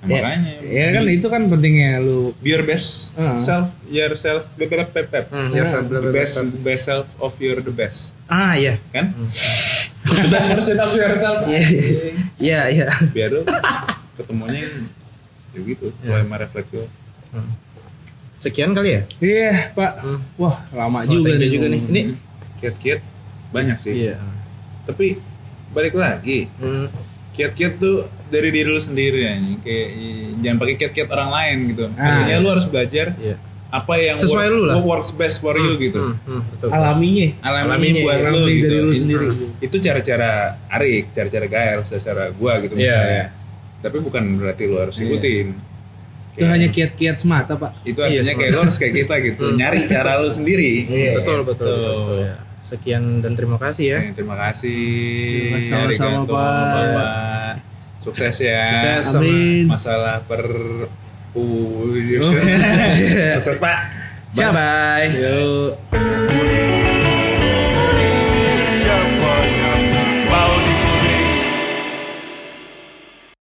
B: Nah,
A: Ya,
B: makanya.
A: ya kan itu kan pentingnya lu
B: Be your best
A: Ah.
B: self, yourself, be- be- be- be-
C: Hmm, yourself,
B: the best, best self of your the best,
C: Ah iya.
B: kan?
A: Hmm.
B: the best version of yourself.
C: Iya. Iya iya.
B: Biar lu ketemunya yang ya gitu, sesuai sama refleksi lu.
C: Sekian kali ya.
A: Iya, Pak. Wah, lama juga
C: Oh, thank
A: nih.
C: you juga nih. Ini
B: Kiat-kiat banyak sih.
C: Iya.
B: Tapi balik lagi,
C: Hmm.
B: kiat-kiat tuh dari diri lu sendiri anjing kayak i- jangan pakai kiat-kiat orang lain gitu artinya lu harus belajar
C: Ah, Iya.
B: apa yang
C: Sesuai
B: work-
C: lu lah.
B: what works best for you gitu
C: Hmm, ya, hmm, betul.
A: Alaminya.
B: alami buat
A: alami
B: lu gitu
A: dari lu
B: Itu-
A: sendiri.
B: itu cara-cara Arik cara-cara Gael cara-cara gua gitu
C: Iya,
B: misalnya
C: iya.
B: tapi bukan berarti lu harus ikutin
A: Itu hanya kiat-kiat semata, Pak.
B: itu
C: Iya,
B: artinya kayak lu harus kayak kita gitu
C: Hmm.
B: nyari cara lu sendiri Gitu.
C: Betul betul
B: Tuh.
C: betul, betul, ya. Sekian dan terima kasih ya.
B: Eh, terima kasih
A: Sama-sama, Pak.
B: Arigato, Bapak. sukses ya
C: Sukses. Sama.
A: Amin.
B: masalah per uh, sukses pak
C: Bye bye.
B: yuk